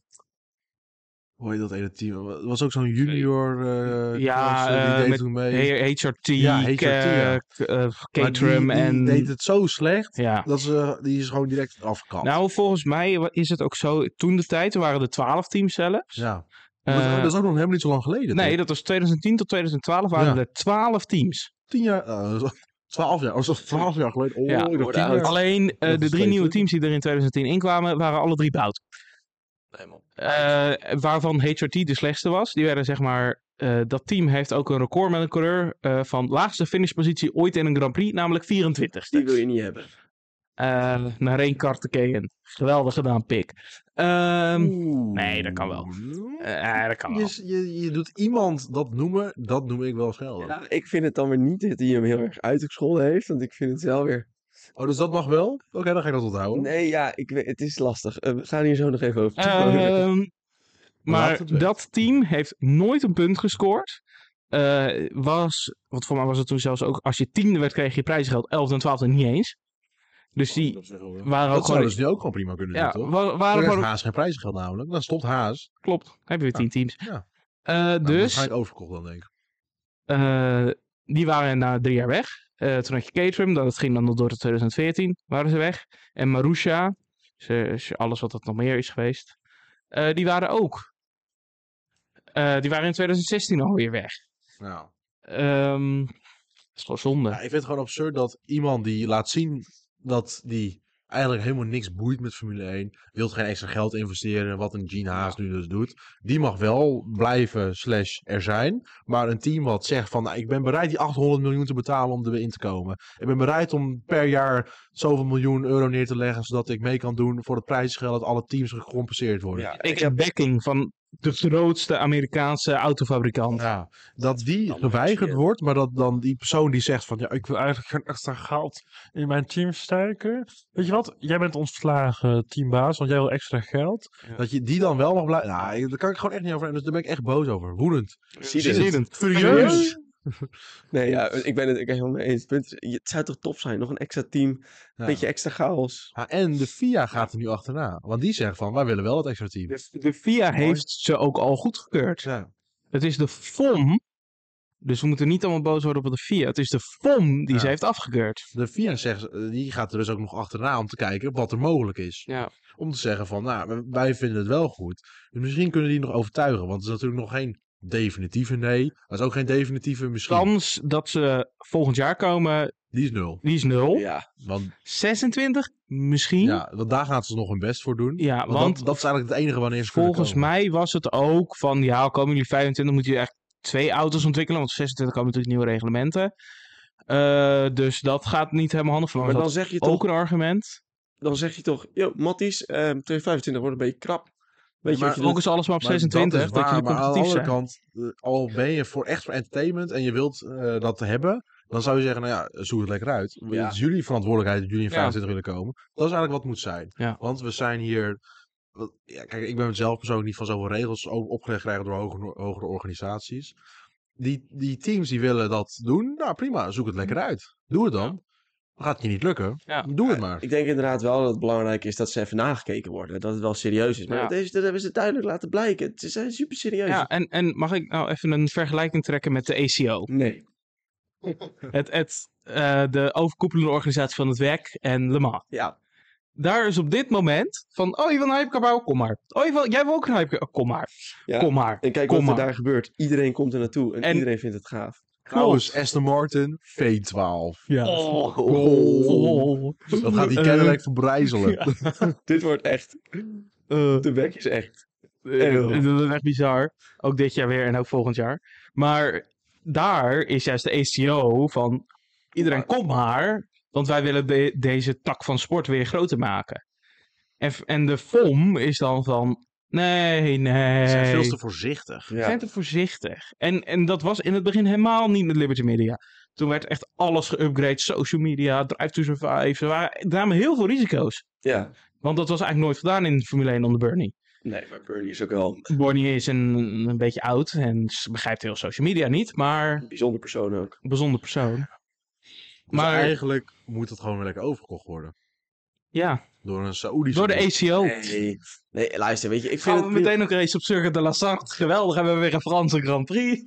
hoe heet dat ene team? Het was ook zo'n junior... eh,
Ja,
klasse, die
eh,
deed
met
toen mee.
Hey, HRT,
Ja,
eh,
HRT, ja.
K- eh,
Maar
Caterham
die, die
en...
deed het zo slecht
Ja.
dat ze die is gewoon direct afgekapt.
Nou, volgens mij wa- is het ook zo. Toen de tijd er waren er 12 teams zelfs.
ja.
Eh,
dat is ook nog helemaal niet zo lang geleden.
nee,
toch?
dat was 2010 tot 2012 waren
Ja.
er 12 teams.
tien jaar. nou, dat is- 12 jaar, oh, dat is 12 jaar geleden. Oh,
Ja,
ik dacht
worden
10 jaar.
oud.
Alleen eh,
Dat
de
is
drie nieuwe
beter.
teams die er in 2010 inkwamen, waren alle drie bout.
Nee, man.
Eh, waarvan HRT de slechtste was. Die werden zeg maar. eh, dat team heeft ook een record met een coureur eh, van laagste finishpositie ooit in een Grand Prix, namelijk 24
Die wil je niet hebben.
naar één Kartekeen. Geweldig gedaan, pik. Ehm,
Oeh.
nee, dat kan wel.
Nou,
eh, eh, dat kan wel.
Je, je, je doet iemand dat noemen, dat noem ik wel schelden.
Ja, Nou, ik vind het dan weer niet dat hij hem heel erg uitgescholden heeft, want ik vind het wel weer...
Oh, dus dat mag wel? Oké, dan ga ik dat onthouden.
Nee, ja, ik weet, het is lastig. Eh, we gaan hier zo nog even over. praten.
Ehm, maar
het weg.
dat team heeft nooit een punt gescoord. Eh, was, want voor mij was het toen zelfs ook, als je tiende werd, kreeg je prijzengeld, elfde en twaalfde niet eens. Dus die
Dat is echt wel-
waren ook
Dat
gewoon...
zouden ze nu ook gewoon prima kunnen
ja,
doen, toch?
wa-
Dan
waren
krijgt
gewoon
Haas geen prijzengeld namelijk. Dan stopt Haas.
Klopt. Dan Heb je weer
Ja.
tien teams.
Ja.
Eh,
Nou,
dus,
Waarschijnlijk overkocht dan, denk ik.
eh, die waren na drie jaar weg. Eh, toen had je Caterham, dat ging dan nog door tot 2014, waren ze weg. En Marusha, ze, ze- alles wat dat nog meer is geweest, eh, die waren ook. Eh, die waren in 2016 alweer weg.
Nou.
Ehm, dat is gewoon zonde.
Ja, ik vind het gewoon absurd dat iemand die laat zien dat die eigenlijk helemaal niks boeit met Formule 1, wil geen extra geld investeren, wat een Gene Haas nu dus doet, die mag wel blijven slash er zijn, maar een team wat zegt van, nou, ik ben bereid die 800 miljoen te betalen om erin te komen. Ik ben bereid om per jaar zoveel miljoen euro neer te leggen, zodat ik mee kan doen voor het prijsgeld dat alle teams gecompenseerd worden.
Ja,
ik
ik
heb
heb-
backing van de grootste Amerikaanse autofabrikant.
Ja, dat
Dan
die
moet je
geweigerd
studeren.
wordt, maar dat dan die persoon die zegt van ja, ik wil eigenlijk geen extra geld in mijn team steken. Weet je wat? Jij bent ons verslagen teambaas, want jij wil extra geld.
Ja.
Dat je die dan wel mag blijven. Nou, daar kan ik gewoon echt niet over. Dus daar ben ik echt boos over. Woedend.
Zie je het?
Ziedend.
Serieus?
Nee, ja, ik ben het ik ben helemaal mee eens. Het punt is, je- Het zou toch top zijn? Nog een extra team,
Ja.
een beetje extra chaos.
Ja, en de FIA gaat er nu achterna. Want die zegt van wij willen wel het extra team.
De, de FIA heeft ze ook al goedgekeurd.
Ja.
Het is de FOM. Dus we moeten niet allemaal boos worden op de FIA. Het is de FOM die
Ja.
ze heeft afgekeurd.
De FIA zegt, eh, die gaat er dus ook nog achterna om te kijken wat er mogelijk is.
Ja.
om te zeggen van, nou, w- wij vinden het wel goed. Dus misschien kunnen die nog overtuigen, want het is natuurlijk nog geen definitieve nee. Dat is ook geen definitieve misschien.
Kans dat ze volgend jaar komen,
Die is nul.
die is nul.
Ja,
Want,
26 misschien. Ja,
ja, want daar gaan ze nog hun best voor doen. want
want
dat, dat is eigenlijk het enige wanneer ze kunnen
volgens
komen.
mij was het ook van, ja, komen jullie 25, moeten jullie echt twee auto's ontwikkelen. Want 26 komen natuurlijk nieuwe reglementen. Eh, dus dat gaat niet helemaal handig voor.
maar
dat
dan zeg je
is ook
toch,
een argument.
dan zeg je toch, yo, Matties, ehm 2025 wordt een beetje krap. Weet
maar
je wat
Ook
je
is alles maar op
Maar
26, dat,
dat, is waar,
jullie
maar aan de
competitief
andere
zijn.
kant, eh, al ben je voor echt voor entertainment en je wilt eh, dat hebben, dan zou je zeggen, nou ja, zoek het lekker uit.
Ja.
Het is jullie verantwoordelijkheid dat jullie in
Ja.
25 willen komen. Dat is eigenlijk wat het moet zijn.
Ja.
Want we zijn hier, wat- ja, kijk, ik ben zelf persoonlijk niet van zoveel regels o- opgelegd krijgen door hoger- hogere organisaties. Die, die teams die willen dat doen, nou prima, zoek het lekker uit. Doe het dan. Gaat het je niet lukken,
Mhm. Ja.
doe het maar.
Ik denk inderdaad wel dat het belangrijk is dat ze even nagekeken worden. Dat het wel serieus is. Maar
Ja.
deze, dat hebben ze duidelijk laten blijken. Ze zijn super serieus.
Ja, en, en mag ik nou even een vergelijking trekken met de E ACO?
Nee.
Het, het, eh, de overkoepelende organisatie van het WEC en Le Mans.
Ja.
Daar is op dit moment van, oh je wil een hypecar bouwen, kom maar. Oh je wil, jij wil ook een hypecar, oh, kom maar.
Ja.
Kom maar.
En kijk
Kom
wat er
maar.
daar gebeurt. Iedereen komt er naartoe en,
En-
iedereen vindt het gaaf.
Trouwens, Aston Martin, V12.
Ja.
Oh,
Oh. Dat gaat die
Eh,
Cadillac verbrijzelen.
Dit wordt echt.
eh,
De bek is echt.
eh, dat is echt bizar. Ook dit jaar weer en ook volgend jaar. Maar daar is juist de ACO van, iedereen kom maar. Want wij willen de- deze tak van sport weer groter maken. En, f- en de FOM is dan van, nee, nee.
Ze zijn veel te voorzichtig.
Ja.
zijn te voorzichtig. En, en dat was in het begin helemaal niet met Liberty Media. Toen werd echt alles geüpgrade. Social media, Drive to Survive. Ze waren, namen heel veel risico's.
Ja.
Want dat was eigenlijk nooit gedaan in Formule 1 onder Bernie.
Nee, maar Bernie is ook wel
Bernie is een, een beetje oud en ze begrijpt heel social media niet. Maar
een bijzonder persoon ook.
een bijzonder persoon.
Maar
Maar
Dus eigenlijk moet het gewoon weer lekker overgekocht worden.
ja,
Door een Saoedische.
door de
boer.
ACO.
Nee, nee luister, weet je, ik vind
Oh. Gaan we
het
meteen ook race op Circuit de la Sarthe. Geweldig, hebben we weer een Franse Grand Prix.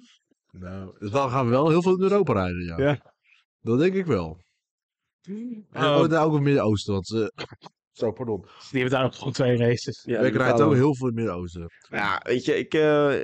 Nou, dus dan gaan we wel heel veel in Europa rijden, ja.
Ja.
Dat denk ik wel. En
Oh.
ook- daar ook in het Midden-Oosten. Want ze... Zo, pardon.
Die hebben daar ook gewoon twee races.
Ja,
ik rijd ook heel veel in het Midden-Oosten.
Ja, weet je, ik, eh,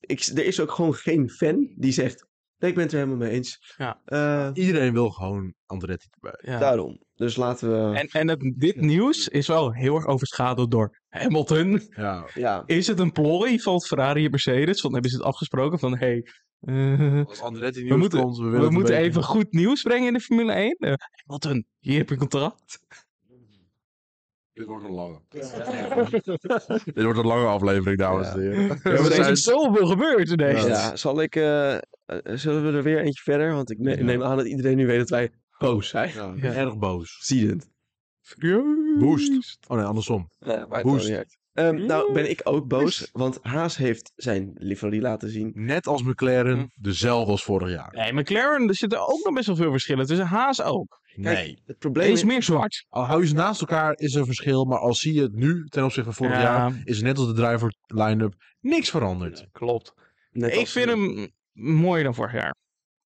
ik, er is ook gewoon geen fan die zegt... Nee, ik ben het er helemaal mee eens.
Ja.
Eh,
Iedereen wil gewoon Andretti erbij.
Ja.
Daarom. Dus laten we...
En, en het, dit nieuws is wel heel erg overschaduwd door Hamilton.
Ja.
Ja,
Is het een plooi van Ferrari en Mercedes? Want hebben ze het afgesproken van... Hey, eh,
Als Andretti nieuws
nieuws moeten-
komt, we willen
we moeten even goed nieuws brengen in de Formule 1. Eh, Hamilton, hier heb je een contract.
Dit wordt een lange. Dit wordt een lange aflevering, dames en
Ja.
heren.
Er
maar
is
zijn-
echt zoveel gebeurd ineens.
Ja.
ja, zal ik... eh, eh, zullen we er weer eentje verder? Want ik ne-
Ja.
neem aan dat iedereen nu weet dat wij boos zijn.
Ja,
Ja.
Erg boos.
Zie het.
Furieus.
Boost. Oh nee, andersom.
Nee, maar
Woest.
nou ben ik ook boos, want Haas heeft zijn livery laten zien.
Net als McLaren,
Hm.
dezelfde als vorig jaar.
Nee, McLaren, er zitten ook nog best wel veel verschillen tussen. Haas ook.
Kijk,
Nee.
Het
Eén
probleem
is
is...
meer zwart.
Al hou je ze naast elkaar, is er verschil. Maar al zie je het nu ten opzichte van vorig
Ja.
jaar, is net als de driver line-up niks veranderd.
Klopt.
net
ik
als-
vind hem mooier dan vorig jaar.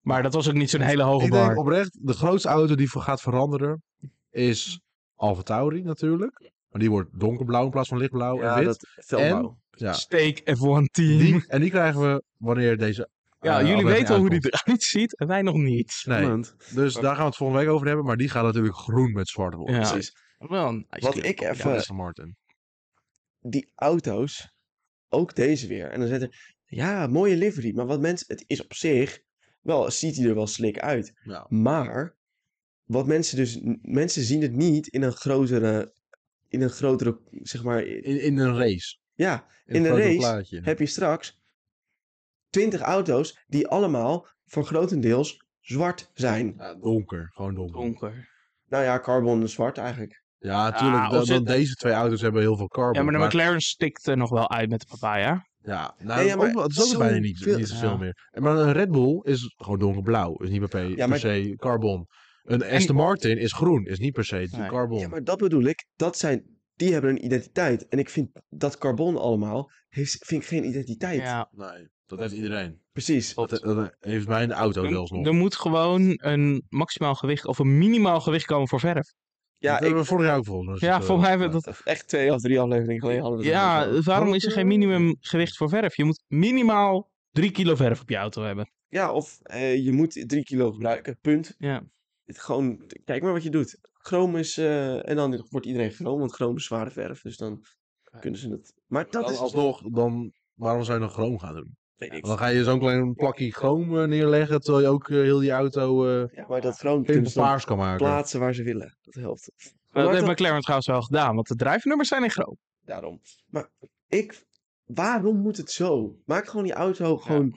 Maar dat was ook niet zo'n hele hoge
eh, Ik
bar.
denk oprecht, de grootste auto die voor gaat veranderen is Alfa Tauri natuurlijk. Maar die wordt donkerblauw in plaats van lichtblauw
Ja,
en wit.
dat telt
En-
wel.
ja.
Steak F1 team.
Die, en die krijgen we wanneer deze eh,
ja, jullie
aflevering
weten al hoe die
uitkomt.
eruit ziet en wij nog niet.
Nee,
Want-
dus daar gaan we het volgende week over hebben. Maar die gaat natuurlijk groen met zwart worden.
Ja.
precies.
Wel een nice
Wat
clip.
ik
Ja,
even...
Aston Martin.
die auto's, ook deze weer. En dan zetten ja, mooie livery. Maar wat mensen, het is op zich, wel, ziet hij er wel slik uit.
Ja.
Maar, wat mensen dus, mensen zien het niet in een grotere, in een grotere, zeg maar,
In, in een race.
ja,
In,
In
een
een
groter
race
plaatje.
heb je straks 20 auto's die allemaal voor grotendeels zwart zijn.
Ja, donker, gewoon donker.
donker.
Nou ja, carbon is zwart eigenlijk.
Ja, natuurlijk.
Ah,
dan,
of zit-
dan deze twee auto's hebben heel veel carbon.
Ja, maar de McLaren stikt er nog wel uit met de papaya.
Ja, nou,
Nee, ja, maar
ook wel- het is ook
zo
bijna niet,
veel-
niet zoveel
ja.
meer. En Maar een Red Bull is gewoon donkerblauw. Is niet per, pe-
Ja, maar-
per se carbon. Een Aston Martin is groen. Is niet per se
Nee.
carbon.
Ja, maar dat bedoel ik. Dat zijn, die hebben een identiteit. En ik vind dat carbon allemaal, heeft, vind ik geen identiteit.
Ja,
Nee, dat heeft iedereen.
Precies.
Dat, eh, dat heeft mijn auto zelfs nog.
er moet gewoon een maximaal gewicht of een minimaal gewicht komen voor verf.
ja,
Ja,
dat
ik,
hebben we vorig jaar ook volgens mij. eh,
Ja, volgens mij hebben we dat...
echt twee of drie afleveringen geleden hadden we het er nog
Ja,
over.
waarom is er geen minimumgewicht voor verf? Je moet minimaal 3 kilo verf op je auto hebben.
ja, of eh, je moet drie kilo gebruiken, punt.
Ja.
Het, gewoon, kijk maar wat je doet. Chroom is, eh, en dan wordt iedereen chroom, want chroom is zware verf. Dus dan kunnen ze het. Maar dat
Dan
is, dus-
alsnog, dan, waarom zou je dan chroom gaan doen?
weet ik.
Dan ga je zo'n klein plakje chroom eh, neerleggen, terwijl je ook eh, heel die auto eh
Ja, maar dat chroom kunnen
helemaal
ze dan
paars kan maken.
plaatsen waar ze willen. Dat helpt. Maar
Dat heeft
dat-
McLaren trouwens wel gedaan, want de drijfnummers zijn in groot.
Daarom. Maar ik, waarom moet het zo? Maak gewoon die auto gewoon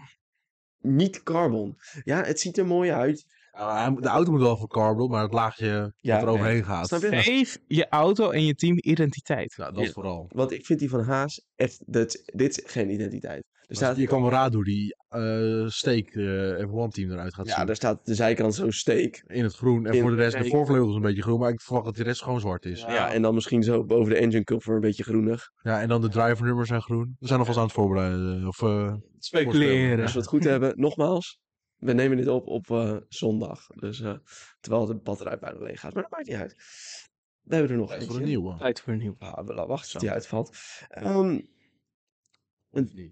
niet carbon. Ja, het ziet er mooi uit.
Ja, hij moet- de auto moet wel voor carbon, maar het laagje
Ja, eh,
wat er overheen gaat.
Snap je? Ja.
Geef je auto en je team identiteit.
Ja, dat
Ja.
vooral.
Want ik vind die van Haas echt, dat, dit is geen identiteit. Er
Maar
staat,
Je kan wel raden hoe die eh, steek eh F1-team eruit gaat
ja,
zien.
daar staat de zijkant zo steek.
In het groen. En
In-
voor de rest, de
Nee.
voorvleugel is een beetje groen. Maar ik verwacht dat de rest gewoon zwart is.
Ja.
Ja,
en dan misschien zo boven de engine cover een beetje groenig.
en dan de drivernummers zijn groen. We zijn alvast aan het voorbereiden. Of, eh,
Speculeren.
Als we het goed hebben, nogmaals. We nemen dit op op eh, zondag. Dus, eh, terwijl de batterij bijna leeg gaat. Maar dat maakt niet uit. We hebben er nog
tijd
eentje.
voor een nieuwe.
Tijd voor een nieuw.
Ah, we la- wachten
Zo.
tot die uitvalt. Ehm,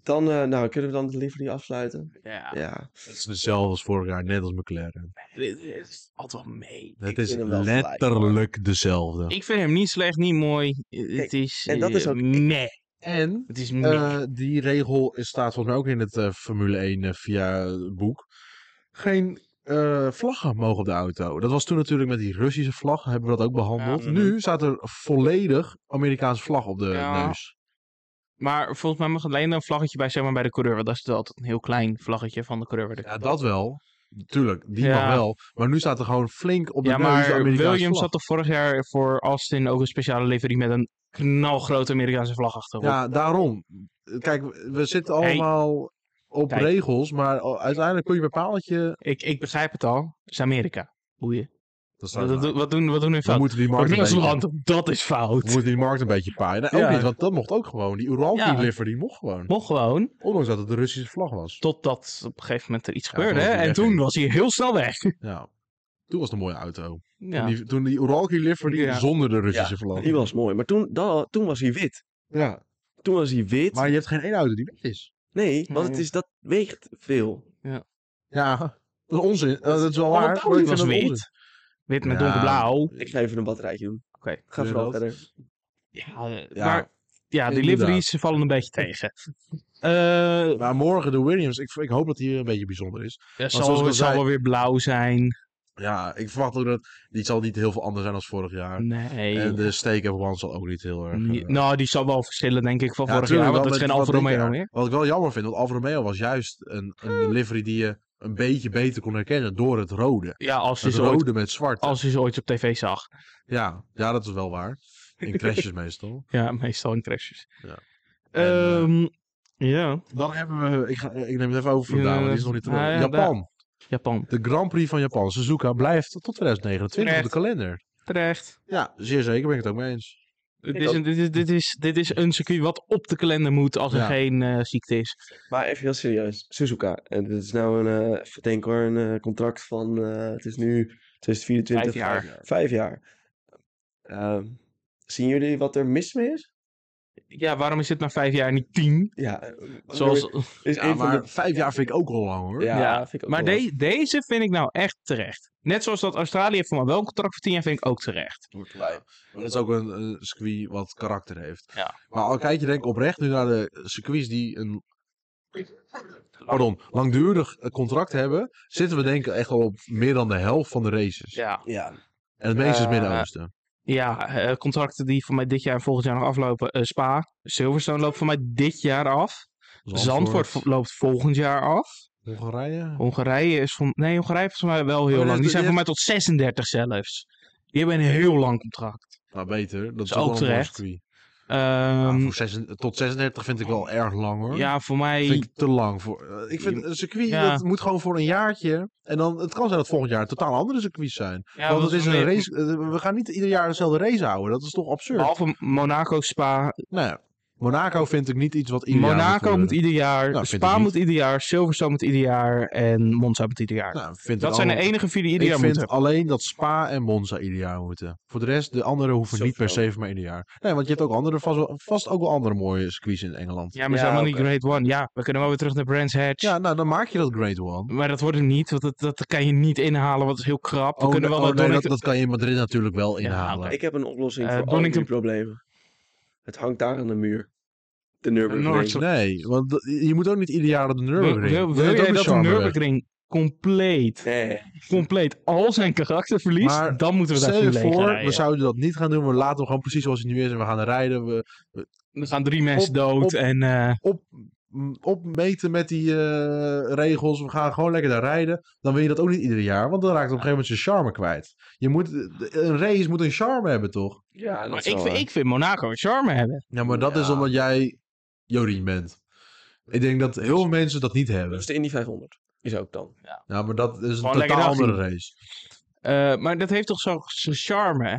dan eh, nou, kunnen we dan de livery afsluiten.
Ja,
Ja,
Het is dezelfde als vorig jaar, net als McLaren.
dit is altijd wel mee.
Het is
vind hem wel gelijk,
letterlijk dezelfde.
Ik vind hem niet slecht, niet mooi. Eh,
Kijk,
het is.
en dat
eh,
is ook- ik-
meh.
En
Het is meh.
eh, die regel is- staat volgens mij ook in het eh, Formule 1 eh, via het boek. Geen eh, vlaggen mogen op de auto. Dat was toen natuurlijk met die Russische vlag, hebben we dat ook behandeld.
Ja.
Nu staat er volledig Amerikaanse vlag op de
Ja.
neus.
maar volgens mij mag het alleen een vlaggetje bij, zeg maar, bij de coureur. Want dat is altijd een heel klein vlaggetje van de coureur. waar de-
Ja, dat wel. Tuurlijk, die
Ja.
mag wel. Maar nu staat er gewoon flink op de
Ja,
neus de
maar
Amerikaanse
Williams
vlag.
had toch vorig jaar voor Austin ook een speciale livery met een knalgrote Amerikaanse vlag achterop.
Ja, daarom. Kijk, we zitten allemaal op
Kijk.
regels, maar o- uiteindelijk kun je bepaald dat je...
Ik, ik begrijp het al. Het is Amerika. Boeien.
Dat is
Wat,
nou waar.
wat, wat doen, wat doen hun
we
fout?
moeten die markt een beetje,
Rusland, dat is
we
fout.
moeten die markt een beetje paaien. Nee, ook
Ja.
niet, want dat mocht ook gewoon. Die Uralki
Ja.
livery mocht gewoon.
Mocht gewoon.
Ondanks dat het de Russische vlag was.
Totdat op een gegeven moment er iets
Ja,
gebeurde.
toen was
hè?
hij
En
weg,
toen
hè?
was hij heel snel weg.
Ja. Toen was het een mooie auto.
Ja.
Toen die, toen die Uralki livery
Ja.
zonder de Russische vlag.
die was mooi. Maar toen, da- toen was hij wit.
Ja.
Toen was hij wit.
Maar je hebt geen één auto die wit is.
Nee, want het
Nee.
is, dat weegt veel.
Ja. Dat is onzin. Eh, dat is wel waar.
Albertoni
maar ik vind
was
dat
wit.
onzin.
Wit met
Ja.
donkerblauw.
Ik ga even een batterijtje doen.
Oké.
Ga
Doe
vooral
dat.
verder.
Ja, eh,
Ja.
maar ja,
Inderdaad.
deliveries vallen een beetje tegen. Eh
Maar morgen de Williams. Ik, ik hoop dat die weer een beetje bijzonder is.
het
zoals
zal,
ik al
het zal
zei-
wel weer blauw zijn.
Ja, ik verwacht ook dat... Die zal niet heel veel anders zijn als vorig jaar.
Nee.
En de Stake F1 zal ook niet heel erg...
Ni-
eh,
nou, die zal wel verschillen, denk ik, van
Ja,
vorig
tuurlijk,
jaar.
wel
Want dat is
met
geen Alfa
wat
Romeo
dikker.
meer.
Wat ik wel jammer vind, want Alfa Romeo was juist een, een livery die je een beetje beter kon herkennen door het rode.
Ja, als je,
Het
ze ooit,
rode met zwart.
als je ze ooit op tv zag.
Ja, ja, dat is wel waar. In crashes meestal.
Ja, meestal in crashes.
Ja. En, eh,
Ehm, ja,
Dan hebben we, ik, ga, ik neem het even over voor
Ja,
Daan, want die is nog niet te
ah, ja,
Japan.
Japan.
De Grand Prix van Japan. Suzuka blijft tot 2029 op de
Terecht.
kalender.
Terecht.
Ja, zeer zeker ben ik het ook mee eens.
Dit is, een, dit, is, dit, is, dit is een circuit wat op de kalender moet als er
Ja.
geen eh, ziekte is.
Maar even heel serieus. Suzuka. En dit is nou een, eh even denken hoor, een eh, contract van, eh, het is nu 2024.
Vijf jaar.
Vijf jaar. Ehm, zien jullie wat er mis mee is?
Ja, waarom is dit na vijf jaar niet tien?
Ja. eh,
Zoals,
Is
Ja,
een
maar
van de...
vijf jaar vind ik ook al lang hoor.
Ja,
Ja,
vind ik ook
maar
wel.
de- deze vind ik nou echt terecht. Net zoals dat Australië heeft voor mij wel een contract voor tien jaar, vind ik ook terecht.
Ja, maar dat is ook een, een circuit wat karakter heeft.
Ja.
Maar al kijk je denk ik oprecht nu naar de circuits die een pardon, langdurig eh, contract hebben, zitten we denk ik echt al op meer dan de helft van de races.
Ja,
Ja.
En het meeste is
Eh,
Midden-Oosten.
ja eh, contracten die voor mij dit jaar en volgend jaar nog aflopen. Eh, Spa, Silverstone loopt voor mij dit jaar af. Zandvoort vo- loopt volgend jaar af.
Hongarije.
Hongarije is van. Nee, Hongarije is voor mij wel heel
Oh,
lang.
dat-
Die zijn
dat-
voor mij tot 36 zelfs. Die hebben een heel lang contract.
Nou, beter. Dat is
Is
ook
ook
wel een mooi
terecht.
circuit. Ja,
Ehm,
voor zes- tot 36 vind ik wel erg lang hoor.
ja, voor
vind
mij.
ik te lang voor. eh, ik vind een circuit
Ja.
dat moet gewoon voor een jaartje. En dan het kan zijn dat volgend jaar een totaal andere circuits zijn.
Ja,
Want
dat
het is een
meer-
race. eh, We gaan niet ieder jaar dezelfde race houden. Dat is toch absurd.
Behalve Monaco, Spa.
Nou ja, Monaco vind ik niet iets wat ieder jaar
Monaco moet,
gebeuren.
ieder jaar.
Nou, vind ik
Spa
niet.
moet ieder jaar. Silverstone moet ieder jaar. En Monza moet ieder jaar.
Nou, vind ik
dat zijn de
allemaal-
enige vier die ieder
ik
jaar
vind
moeten.
alleen dat Spa en Monza ieder jaar moeten. Voor de rest, de anderen hoeven
Zo
niet per
veel.
se voor mij ieder jaar. Nee, want je hebt ook andere, vast, wel- vast ook wel andere mooie circuits in Engeland. Ja.
Ja, maar
Ja,
zijn
oké.
we niet Great One? Ja, we kunnen wel weer terug naar Brands Hatch.
nou dan maak je dat Great One.
Maar dat wordt hem niet, want dat, dat kan je niet inhalen, want het is heel krap. We
Oh,
kunnen
nee,
wel naar
oh, nee, dat,
Donington-
dat kan je in Madrid natuurlijk wel
Ja,
inhalen.
Ik heb een oplossing
Eh,
voor al
Donington-
die problemen. Het hangt daar aan de muur. De Nürburgring.
Noord-
Nee, want dat- je moet ook niet ieder jaar op de
Wil,
Nürburgring.
wil,
Dat
wil
heeft ook
jij
een
dat de
charme weg.
Nürburgring compleet,
Nee.
compleet al zijn karakter verliest,
Maar
dan moeten we
Stel
daar
je
leeg
voor,
rijden.
we zouden dat niet gaan doen. We laten hem gewoon precies zoals hij nu is en we gaan rijden. We
Er gaan drie mensen
op-
dood
op-
en... eh,
op, m, opmeten met die eh, regels. We gaan gewoon lekker daar rijden. Dan wil je dat ook niet ieder jaar, want dan raakt het op een gegeven moment zijn charme kwijt. Je moet, de- een race moet een charme hebben, toch?
Ja, dat
maar
is
ik,
wel eh,
vind-
waar.
ik vind Monaco een charme hebben.
Ja, maar dat is
Ja.
omdat jij Jorien bent. Ik denk dat heel veel mensen dat niet hebben.
Dus de Indy 500 is ook dan.
Ja, maar dat is een
Gewoon lekker
totaal
dag
andere race.
Eh, maar dat heeft toch zo'n zo'n charme, hè?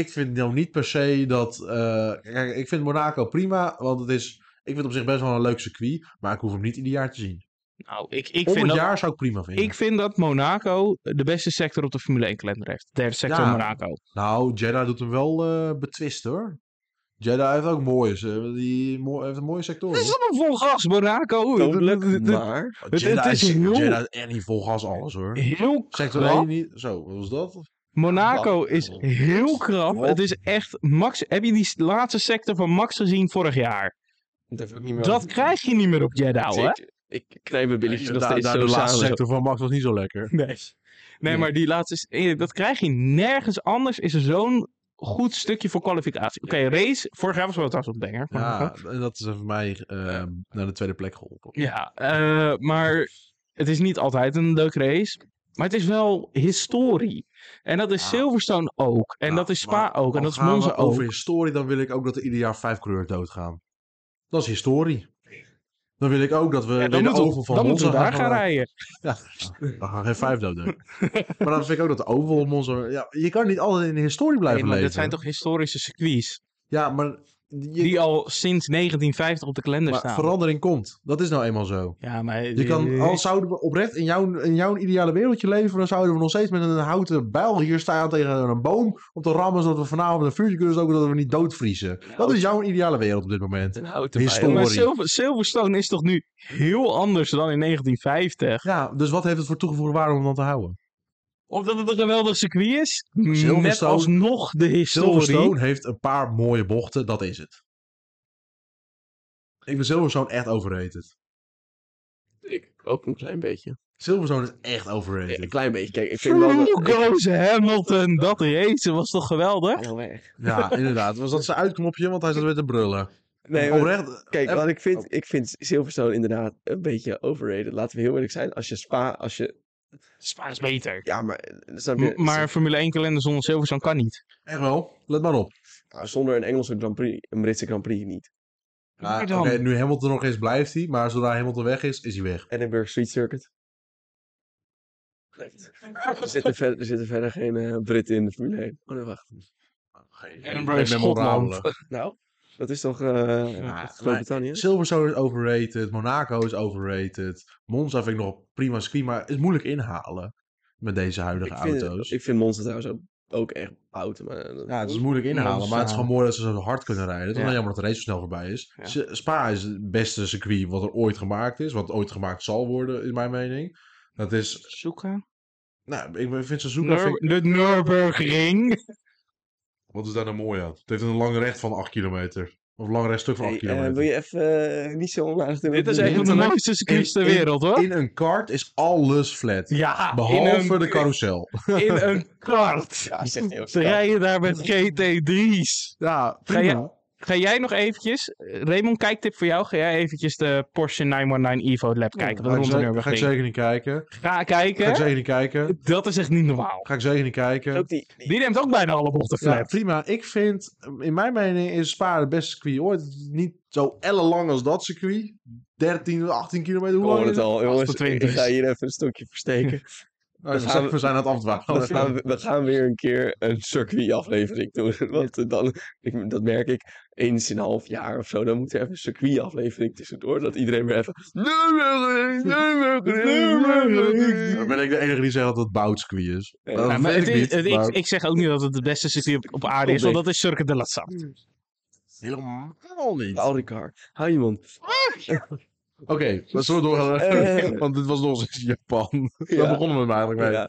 Ik vind nou niet per se dat... eh, kijk, ik vind Monaco prima, want het is... Ik vind het op zich best wel een leuk circuit, maar ik hoef hem niet ieder jaar te zien.
Nou, ik, ik,
Om
vind
het
dat,
jaar zou ik prima vinden.
ik vind dat Monaco de beste sector op de Formule 1 kalender heeft. Derde sector
Ja.
Monaco.
Nou, Jeddah doet hem wel eh, betwist hoor. Jeddah heeft ook mooie, ze- die mo- heeft een mooie sector.
Het is
hoor.
allemaal vol gas, Monaco. De- de- de- de-
maar...
het-
Jeddah
het is
is
heel-
Jeddah is echt niet vol gas alles hoor.
Heel
Sector
krap.
1 niet. Zo, wat was dat?
Monaco is heel krap.
Wat?
Het is echt Max. Heb je die laatste sector van Max gezien vorig jaar?
Dat, heb ik niet meer
Dat krijg je niet meer op Jeddah, hè?
Ik, ik knijp mijn billetjes nog
Daar-
steeds
daar
zo
de
samen.
laatste
zo.
sector van Max was niet zo lekker.
Nee. Nee, maar die laatste. is- eh, Dat krijg je nergens anders. Is er zo'n goed stukje voor kwalificatie. Oké, race. Vorig jaar was wel trouwens op Denger.
Ja, en dat is voor mij eh, naar de tweede plek geholpen.
Ja, eh, maar het is niet altijd een leuke race. Maar het is wel historie. En dat is
Ja.
Silverstone ook. En
Ja,
dat is Spa
Nou, maar
ook. En
al
dat is
gaan we
Monza ook.
over historie, dan wil ik ook dat er ieder jaar vijf coureurs doodgaan. Dat is historie. Dan wil ik ook dat we
Ja,
weer
dan
de
moeten
ogen
we,
van
dan
Monza
moeten we daar
gaan
gaan rijden.
Ja, dan gaan geen vijf dood doen. maar dan vind ik ook dat de oval op ons... Ja, je kan niet altijd in de historie blijven
Nee, maar
leven.
dat zijn toch historische circuits?
Ja, maar je-
Die al sinds 1950 op de kalender
maar
staan.
verandering komt. Dat is nou eenmaal zo.
Ja, maar...
Je kan, al zouden we oprecht in jouw, in jouw ideale wereldje leven, dan zouden we nog steeds met een houten bijl hier staan tegen een boom om te rammen, zodat we vanavond een vuurtje kunnen stoken, zodat we niet doodvriezen. Dat is jouw ideale wereld op dit moment.
Een houten
Historisch.
bijl.
Nou. Maar
Sorry.
Silver- Silverstone is toch nu heel anders dan in 1950?
Ja, dus wat heeft het voor toegevoegde waarde om dan te houden?
Omdat het een geweldig circuit is? Met
Silverstone-
alsnog de historie.
Silverstone heeft een paar mooie bochten, dat is het. Ik vind Silverstone echt overrated.
Ik ook een klein beetje.
Silverstone is echt
Ja, een
overrated.
klein beetje. Kijk, ik vind wel...
Who
dat-
goes Hamilton? Dat race was toch geweldig?
Heel erg.
Ja, inderdaad. Was dat zijn uitknopje, want hij zat weer te brullen.
Nee, maar- oh.
oprecht.
Kijk,
Eh,
wat ik vind, ik vind Silverstone inderdaad een beetje overrated. Laten we heel eerlijk zijn. Als je Spa, als je...
Spa is beter.
Ja, maar... eh, snap je?
maar Formule 1 kalender zonder Silverstone kan niet.
Echt wel, let maar op.
Nou, zonder een Engelse Grand Prix, een Britse Grand Prix niet.
Ja,
Maar
Oké,
dan-
nu Hamilton nog eens blijft hij, maar zodra Hamilton weg is, is hij weg.
Edinburgh Street Circuit. Nee, Er zitten, verder, er zitten verder geen eh, Brit in de Formule 1. Oh, nee, wacht.
Edinburgh is
Memorabele.
Nou, dat is toch eh,
maar-
Groot-Brittannië?
Silverstone is overrated. Monaco is overrated. Monza vind ik nog prima ski, maar is moeilijk inhalen met deze huidige
Ik vind,
auto's.
ik vind Monster trouwens ook, ook echt oud. Maar, eh, dat-
Ja, het is moeilijk inhalen,
Monza.
maar het is gewoon mooi dat ze zo hard kunnen rijden. Het is
Ja.
wel jammer dat de race zo snel voorbij is.
Ja.
S- Spa is het beste circuit wat er ooit gemaakt is, wat ooit gemaakt zal worden, in mijn mening. Dat is,
Zoeken.
nou, ik vind Suzuka...
Nur-
Vind ik-
de Nürburgring.
wat is daar nou mooi aan? Het heeft een lang recht van 8 kilometer. Of een lang rechtstuk van 8
Hey, eh,
kilometer.
wil je even eh, niet zo onaardig doen?
Dit is
Doe
een van de
Internet-
mooiste circuits ter
in- in-
wereld, hoor.
In een kart is alles flat.
Ja,
Behalve
in een,
de carousel.
in een kart.
Ja, zegt heel
Ze rijden daar met GT3's.
Ja,
prima. Ga jij nog eventjes, Raymond, kijktip voor jou. Ga jij eventjes de Porsche 919 Evo Lab kijken?
ga,
Dat
ik
rond de
zeker- ga ik
Nürburgring.
zeker niet kijken.
Ga
Ga ik
kijken.
zeker niet kijken.
Dat is echt niet normaal.
Ga ik zeker niet kijken.
Ook die, die-
Die neemt ook bijna alle bochten
Ja,
flat.
prima. Ik vind, in mijn mening, is Spa het beste circuit ooit. Het is Niet zo ellenlang als dat circuit. 13, 18 kilometer.
We
Hoe lang
horen
is
het
het?
al, jongens.
28.
Ik ga hier even een stokje versteken.
Nou,
We
we,
gaan-
zijn, we zijn aan het afdwalen.
We gaan, we gaan weer een keer een circuitaflevering doen. Want eh, dan, ik, dat merk ik, eens in een half jaar of zo, dan moet er even een circuitaflevering tussendoor. Dat iedereen weer even... Nürburgring, Nürburgring.
Dan ben ik de enige die zegt dat het Bout circuit is.
Ja,
Dat
Ja, maar
weet
het
ik
is-
niet,
het- ik,
maar-
ik zeg ook niet dat het het beste circuit op, op aarde is, want dat is Circuit de la Salle.
Helemaal niet.
Auricar, hou je mond.
Oké, maar zullen we doorgaan?
Eh.
Want dit was nog eens Japan. Daar
Ja,
begonnen we hem eigenlijk mee.
ja.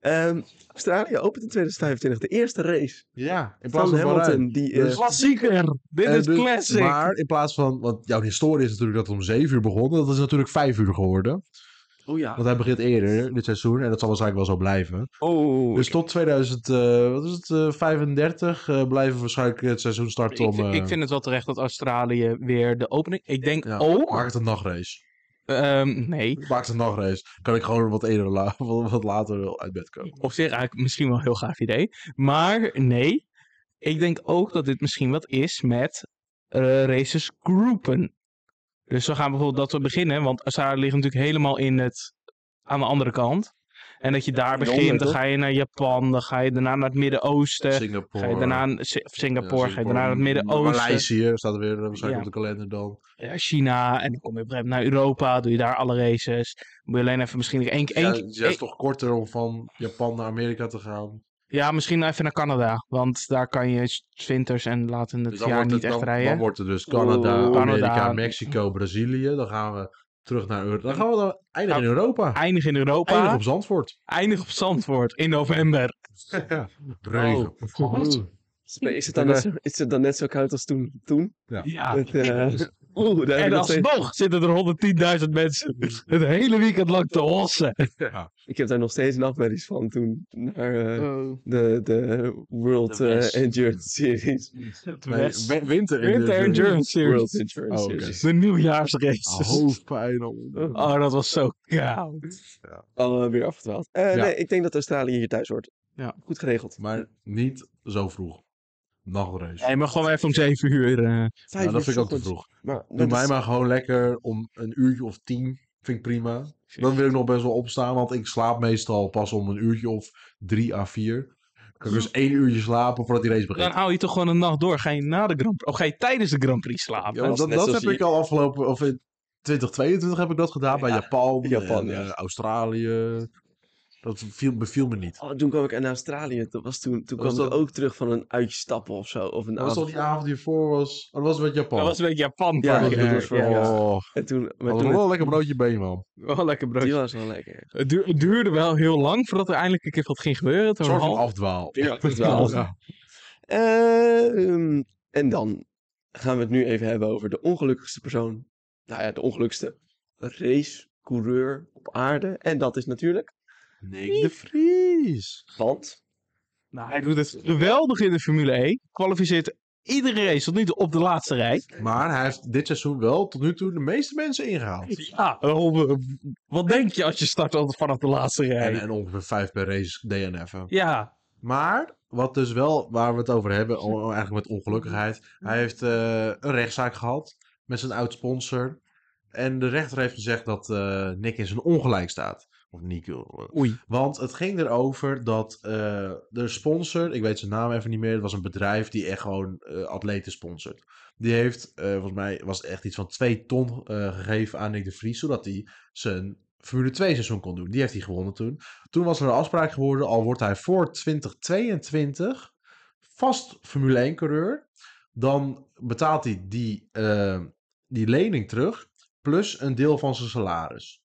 Ehm, Australië opent in 2025 de eerste race
Ja, in plaats
van
van Bahrein.
Hamilton. Die, eh,
Dus-
Klassieker! Dit
Eh,
is
dus-
classic!
Maar in plaats van, want jouw historie is natuurlijk dat het om 7 uur begon. Dat is natuurlijk 5 uur geworden.
oh ja.
Want hij begint eerder dit seizoen en dat zal waarschijnlijk wel zo blijven.
Oh,
Dus tot eh, 2035 eh, blijven waarschijnlijk het seizoen
ik,
starten om.
vind- ik
eh,
vind het wel terecht dat Australië weer de opening... Ik denk
ja, Maak
ook...
het een nachtrace.
ehm, nee,
Maak het een nachtrace. Kan ik gewoon wat eerder la- wat wat later wel uit bed komen.
op zich eigenlijk misschien wel een heel gaaf idee. Maar nee, ik denk ook dat dit misschien wat is met eh, races groepen. Dus we gaan bijvoorbeeld dat we beginnen, want Australië ligt natuurlijk helemaal in het, aan de andere kant. En dat je daar
Landen,
begint, dan
toch?
ga je naar Japan, dan ga je daarna naar het Midden-Oosten.
Singapore.
Ga je daarna naar Si- of
ja,
Singapore, ga je daarna naar het Midden-Oosten,
Maleisië staat er weer eh, waarschijnlijk
Ja.
op de kalender dan.
ja, China. En dan kom je op een gegeven moment naar Europa, doe je daar alle races. Moet je alleen even misschien nog één keer...
Ja,
één-
het is juist toch korter om van Japan naar Amerika te gaan.
Ja, misschien even naar Canada. Want daar kan je s- winters en later in het
Dus dan,
jaar
wordt
niet
het,
echt
dan,
rijden.
dan wordt het dus Canada,
Oeh.
Amerika,
Canada.
Mexico, Brazilië. Dan gaan we terug naar Europa. Dan gaan we dan eindigen in Europa.
Eindig in Nou, Europa.
Eindigen
Eindig
op Zandvoort.
op, Zandvoort in november.
Regen.
God.
is het, dan net zo, is het dan net zo koud als toen? toen?
Ja. Dus-
Met, eh, Oeh, daar heb ik
En
nog steeds-
alsnog zitten er 110.000 mensen het hele weekend lang te hossen.
Ja.
Ik heb daar nog steeds nachtmerries van toen naar eh,
Oh.
de, de World
De
eh,
West.
Endurance Series.
Het
Nee,
West.
wi- winter
Winter Endurance Series.
World Endurance
Oh, oké.
Series.
De nieuwjaarsraces.
Oh, Hoofdpijn.
Oh,
Oh, dat was zo koud.
Al eh, weer afgedwaald. Eh,
Ja.
Nee, ik denk dat Australië hier thuis hoort.
Ja.
Goed geregeld.
Maar niet zo vroeg. Nachtrace.
Hij mag gewoon even om 7 uur.
Vijf
eh,
Nou, dat
uur
vind ik al te
ochtends.
vroeg.
Maar,
Doe
dat
mij
is-
maar gewoon lekker om een uurtje of tien. Vind ik prima. Dan wil ik nog best wel opstaan, want ik slaap meestal pas om een uurtje of drie à vier. Kan ik dus één uurtje slapen voordat die race
Dan
begint.
hou je toch gewoon een nacht door. Ga je na de Grand Prix, of ga je tijdens de Grand Prix slapen?
Ja, want
dat is
dat
net
dat heb
zoals
ik
die-
al afgelopen, of in 2022 heb ik dat gedaan bij
Ja,
Japan,
Japan,
en,
ja.
eh, Australië. Dat viel, beviel me niet.
Oh, toen kwam ik naar Australië. Dat was toen toen
Dat was
kwam ik
dat-
ook terug van een uitje stappen of zo. Of een
Dat was al
avond.
die avond die ervoor was. Oh, dat was met Japan.
Dat was een beetje Japan.
Ja,
vorige
dat
keer.
was voor-
Ja.
ja.
Oh,
En toen, maar
wat
toen
een wel lekker broodje been, man.
Wel lekker
die
broodje.
was wel lekker.
Het, duur- het duurde wel heel lang voordat er eindelijk een keer wat ging gebeuren. Het
Een
was
soort
een
van
half-
afdwaal.
Ja, dat
wel.
Ja.
Ehm, en dan gaan we het nu even hebben over de ongelukkigste persoon. Nou ja, de ongelukkigste racecoureur op aarde. En dat is natuurlijk,
Nick de Vries.
want
Nou, hij doet het geweldig in de Formule 1. Kwalificeert iedere race tot nu toe op de laatste rij.
Maar hij heeft dit seizoen wel tot nu toe de meeste mensen ingehaald.
Ja, oh, wat denk je als je start altijd vanaf de laatste
En,
rij?
en ongeveer vijf per race DNF'en.
Ja,
Maar, wat dus wel, waar we het over hebben, o- o- eigenlijk met ongelukkigheid. Hij heeft eh, een rechtszaak gehad met zijn oud-sponsor. En de rechter heeft gezegd dat eh, Nick in zijn ongelijk staat. Of Nick. eh,
oei.
Want het ging erover dat eh, de sponsor, ik weet zijn naam even niet meer, het was een bedrijf die echt gewoon eh, atleten sponsort. Die heeft, eh, volgens mij was het echt iets van 2 ton eh, gegeven aan Nick de Vries, zodat hij zijn Formule 2 seizoen kon doen. Die heeft hij gewonnen toen. Toen was er een afspraak geworden, al wordt hij voor 2022 vast Formule 1 coureur, dan betaalt hij die, eh, die lening terug, plus een deel van zijn salaris.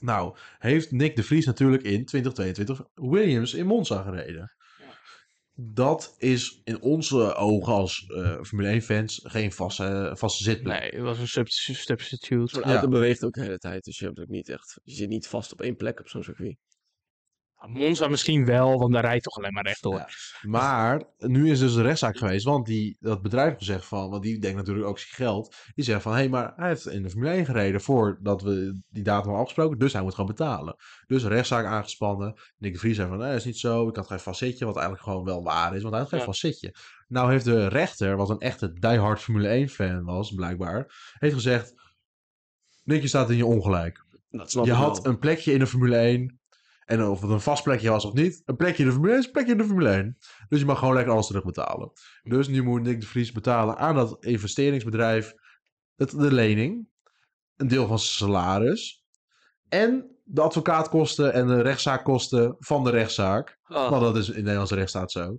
Nou, heeft Nick de Vries natuurlijk in 2022 Williams in Monza gereden. Dat is in onze ogen als eh, Formule 1-fans geen vaste, vaste zitplek.
Nee, het was een subst- substitute.
zo'n
Ja.
auto beweegt ook de hele tijd. Dus je, hebt ook niet echt, je zit niet vast op één plek op zo'n circuit.
Monza misschien wel, want daar rijdt toch alleen maar rechtdoor.
Ja. Maar nu is dus de rechtszaak geweest, want die, dat bedrijf heeft gezegd van, want die denkt natuurlijk ook zijn geld. Die zegt van, hé, maar hij heeft in de Formule 1 gereden voordat we die datum hadden afgesproken, dus hij moet gaan betalen. Dus een rechtszaak aangespannen. Nick de Vries zei van, nee, dat is niet zo, ik had geen facetje, wat eigenlijk gewoon wel waar is, want hij had geen
Ja.
facetje. Nou heeft de rechter, wat een echte diehard Formule 1 fan was, blijkbaar, heeft gezegd, Nick, je staat in je ongelijk.
Dat snap
Je
ik
had
wel.
een plekje in de Formule 1. En of het een vast plekje was of niet. Een plekje in de Formule 1 is een plekje in de Formule 1. Dus je mag gewoon lekker alles terugbetalen. Dus nu moet Nick de Vries betalen aan dat investeringsbedrijf het, de lening. Een deel van zijn salaris. En de advocaatkosten en de rechtszaakkosten van de rechtszaak.
Ah,
Want dat is in de Nederlandse rechtsstaat zo.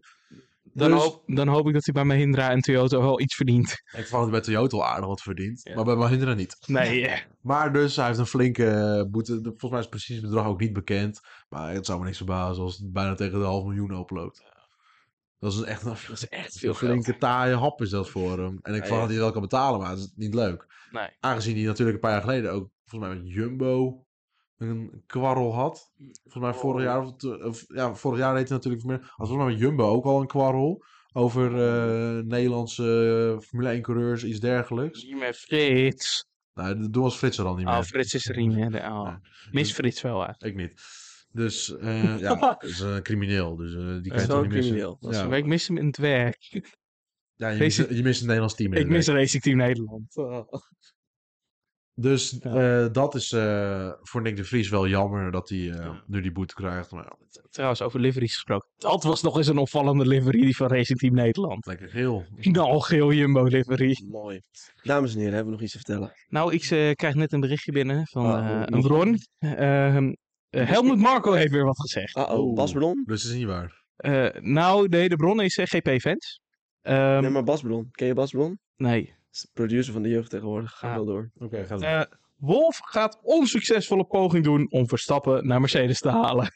Dan,
Dus-
hoop, dan hoop ik dat hij bij Mahindra en Toyota wel iets verdient.
Ik vond het bij Toyota al aardig wat verdient.
Ja.
Maar bij Mahindra niet.
Nee, eh.
Maar dus, hij heeft een flinke eh, boete. De- Volgens mij is het precies het bedrag ook niet bekend. Maar het zou me niks verbazen als het bijna tegen de half miljoen oploopt. Dat is echt een,
dat is echt
een
veel geld.
flinke taaie hap is dat voor hem. En ik
Ja, ja.
vond dat hij wel kan betalen, maar dat is niet leuk.
Nee.
Aangezien hij natuurlijk een paar jaar geleden ook volgens mij met Jumbo een kwarrel had. Volgens mij vorig
Oh.
jaar, of, te- of- ja, vorig jaar reed hij natuurlijk meer. Had volgens mij met Jumbo ook al een kwarrel. Over
Oh.
eh, Nederlandse eh, Formule 1 coureurs, iets dergelijks.
Niet meer Frits.
Nou, toen was Frits er
Ah,
al niet meer.
Oh, Frits is er niet meer. hè. Oh.
Ja.
Mis Frits wel uit.
Ik niet. Dus eh, ja, dat is een crimineel. Dus eh, die kan
Dat
je
is
toch
wel
niet
een
missen.
crimineel. Dat is
Ja.
wel-
Maar ik mis hem in het werk.
Ja, je, mist,
Deze-
je mist een Nederlands team. in
Ik
het
mis
werk.
Racing Team Nederland. Oh.
Dus eh, dat is eh, voor Nick de Vries wel jammer dat hij eh, nu die boete krijgt. Maar ja,
Trouwens, over liveries gesproken. Dat was nog eens een opvallende livery die van Racing Team Nederland.
lekker geel.
Nou, geel Jumbo livery.
Ah, Mooi. Dames en heren, hebben we nog iets te vertellen?
Nou, ik eh, krijg net een berichtje binnen van
Oh,
eh,
niet.
een bron. Ehm, eh, Helmut Marco heeft weer wat gezegd.
Ah, oh,
Oh.
Bas Ballon?
Dus dat is niet waar.
Eh, nou, nee, de bron is GP-fans.
Ehm.
nee, maar Bas Ballon. Ken je Bas Ballon?
Ehm, nee.
Is de producer van de jeugd tegenwoordig. Ga
Ah.
wel door.
Oké, gaat
Eh, Wolf gaat onsuccesvolle poging doen om Verstappen naar Mercedes te halen.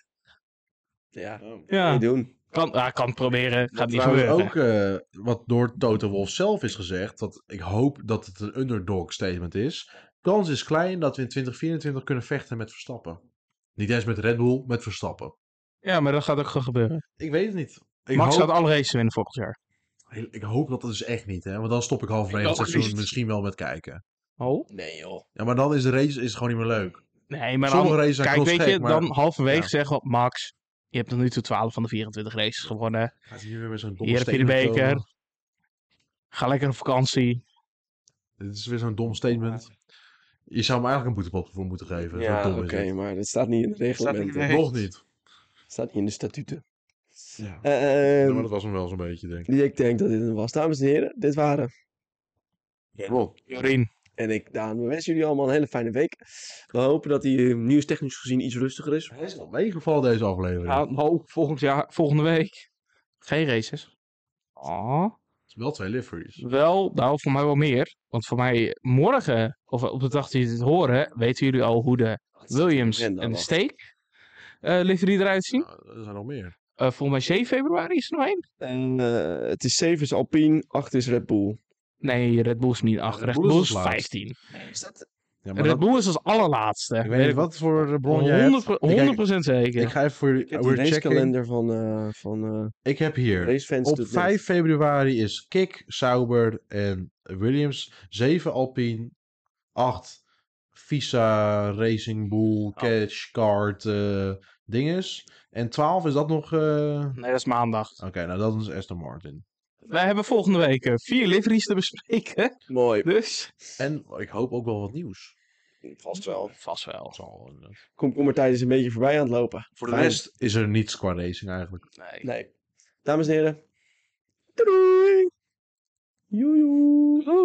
Ja,
Ja,
niet doen.
kan, ah, kan het proberen. Gaat niet
Trouwens
gebeuren.
ook eh, wat door Toto Wolf zelf is gezegd, dat ik hoop dat het een underdog statement is. Kans is klein dat we in 2024 kunnen vechten met Verstappen. Niet eens met Red Bull, met Verstappen.
Ja, maar dat gaat ook gewoon gebeuren.
Ik weet het niet. Ik
Max
hoop-
gaat alle races winnen volgend jaar.
Heel- Ik hoop dat dat dus echt niet, hè? Want dan stop ik halverwege
Ik
het
ook
seizoen
niet.
misschien wel met kijken.
Oh?
Nee joh.
Ja, maar dan is de race is gewoon niet meer leuk.
Nee, maar
Sommige
dan-
races zijn
kijk, weet
knotsgek,
je,
maar-
dan halverwege
Ja.
zeggen we, Max, je hebt tot nu toe 12 van de 24 races gewonnen.
Gaat hier weer met zo'n domme
Hier heb je de
statement
beker.
over?
Ga lekker op vakantie.
Dit is weer zo'n dom statement. Je zou hem eigenlijk een boetepot voor moeten geven. Ja,
Ja,
dom
oké,
is het.
maar dat staat niet in de reglementen.
Nog niet.
staat niet in de statuten.
Ja.
Ehm,
Ja, maar dat was hem wel zo'n beetje, denk ik.
Ik denk dat dit het was. Dames en heren, dit waren
Ron.
Jorin.
en ik, Daan. We wensen jullie allemaal een hele fijne week. We hopen dat die eh, nieuwstechnisch gezien iets rustiger is.
Hij is al meegevallen deze aflevering.
Nou, nou, volgend jaar, volgende week. Geen races. Ah.
Het is wel twee liveries.
Wel, nou, voor mij wel meer. Want voor mij morgen, of op de dag die jullie dit horen, weten jullie al hoe de Williams
Brenda
en de
was.
Steak eh livery eruit zien.
Nou, er zijn nog meer.
Eh volgens mij 7 februari is er nog één.
En, eh, het is 7 is Alpine, 8 is Red Bull.
Nee, Red Bull is niet 8.
Red
Red
Bull is
Bull
als
is
laatste.
15.
Ja, maar
Red
dat-
Bull is als allerlaatste.
ik weet niet wat voor eh, bron jij hebt.
100%,
Ik-
100% zeker.
Ik ga even voor
Ik heb
jullie
de
checken.
racekalender van, eh van eh,
Ik heb hier.
racefans.
Op
doet
5 februari is Kik, Sauber en Williams. 7 Alpine. 8 Visa, Racing Bull, Cash, Kart, eh, dinges. En 12 is dat nog... eh,
Nee, dat is maandag.
Oké, nou dat is Aston Martin.
Wij hebben volgende week eh, vier liveries te bespreken.
niks. Mooi.
Dus.
En ik hoop ook wel wat nieuws.
Vast wel.
Vast wel.
Dat zal wel, eh,
Komkommertijd is een beetje voorbij aan het lopen.
Voor de
Fijn.
rest is er niets qua racing eigenlijk.
Nee.
Nee. Dames en heren. Doei. Doei. Joejoe.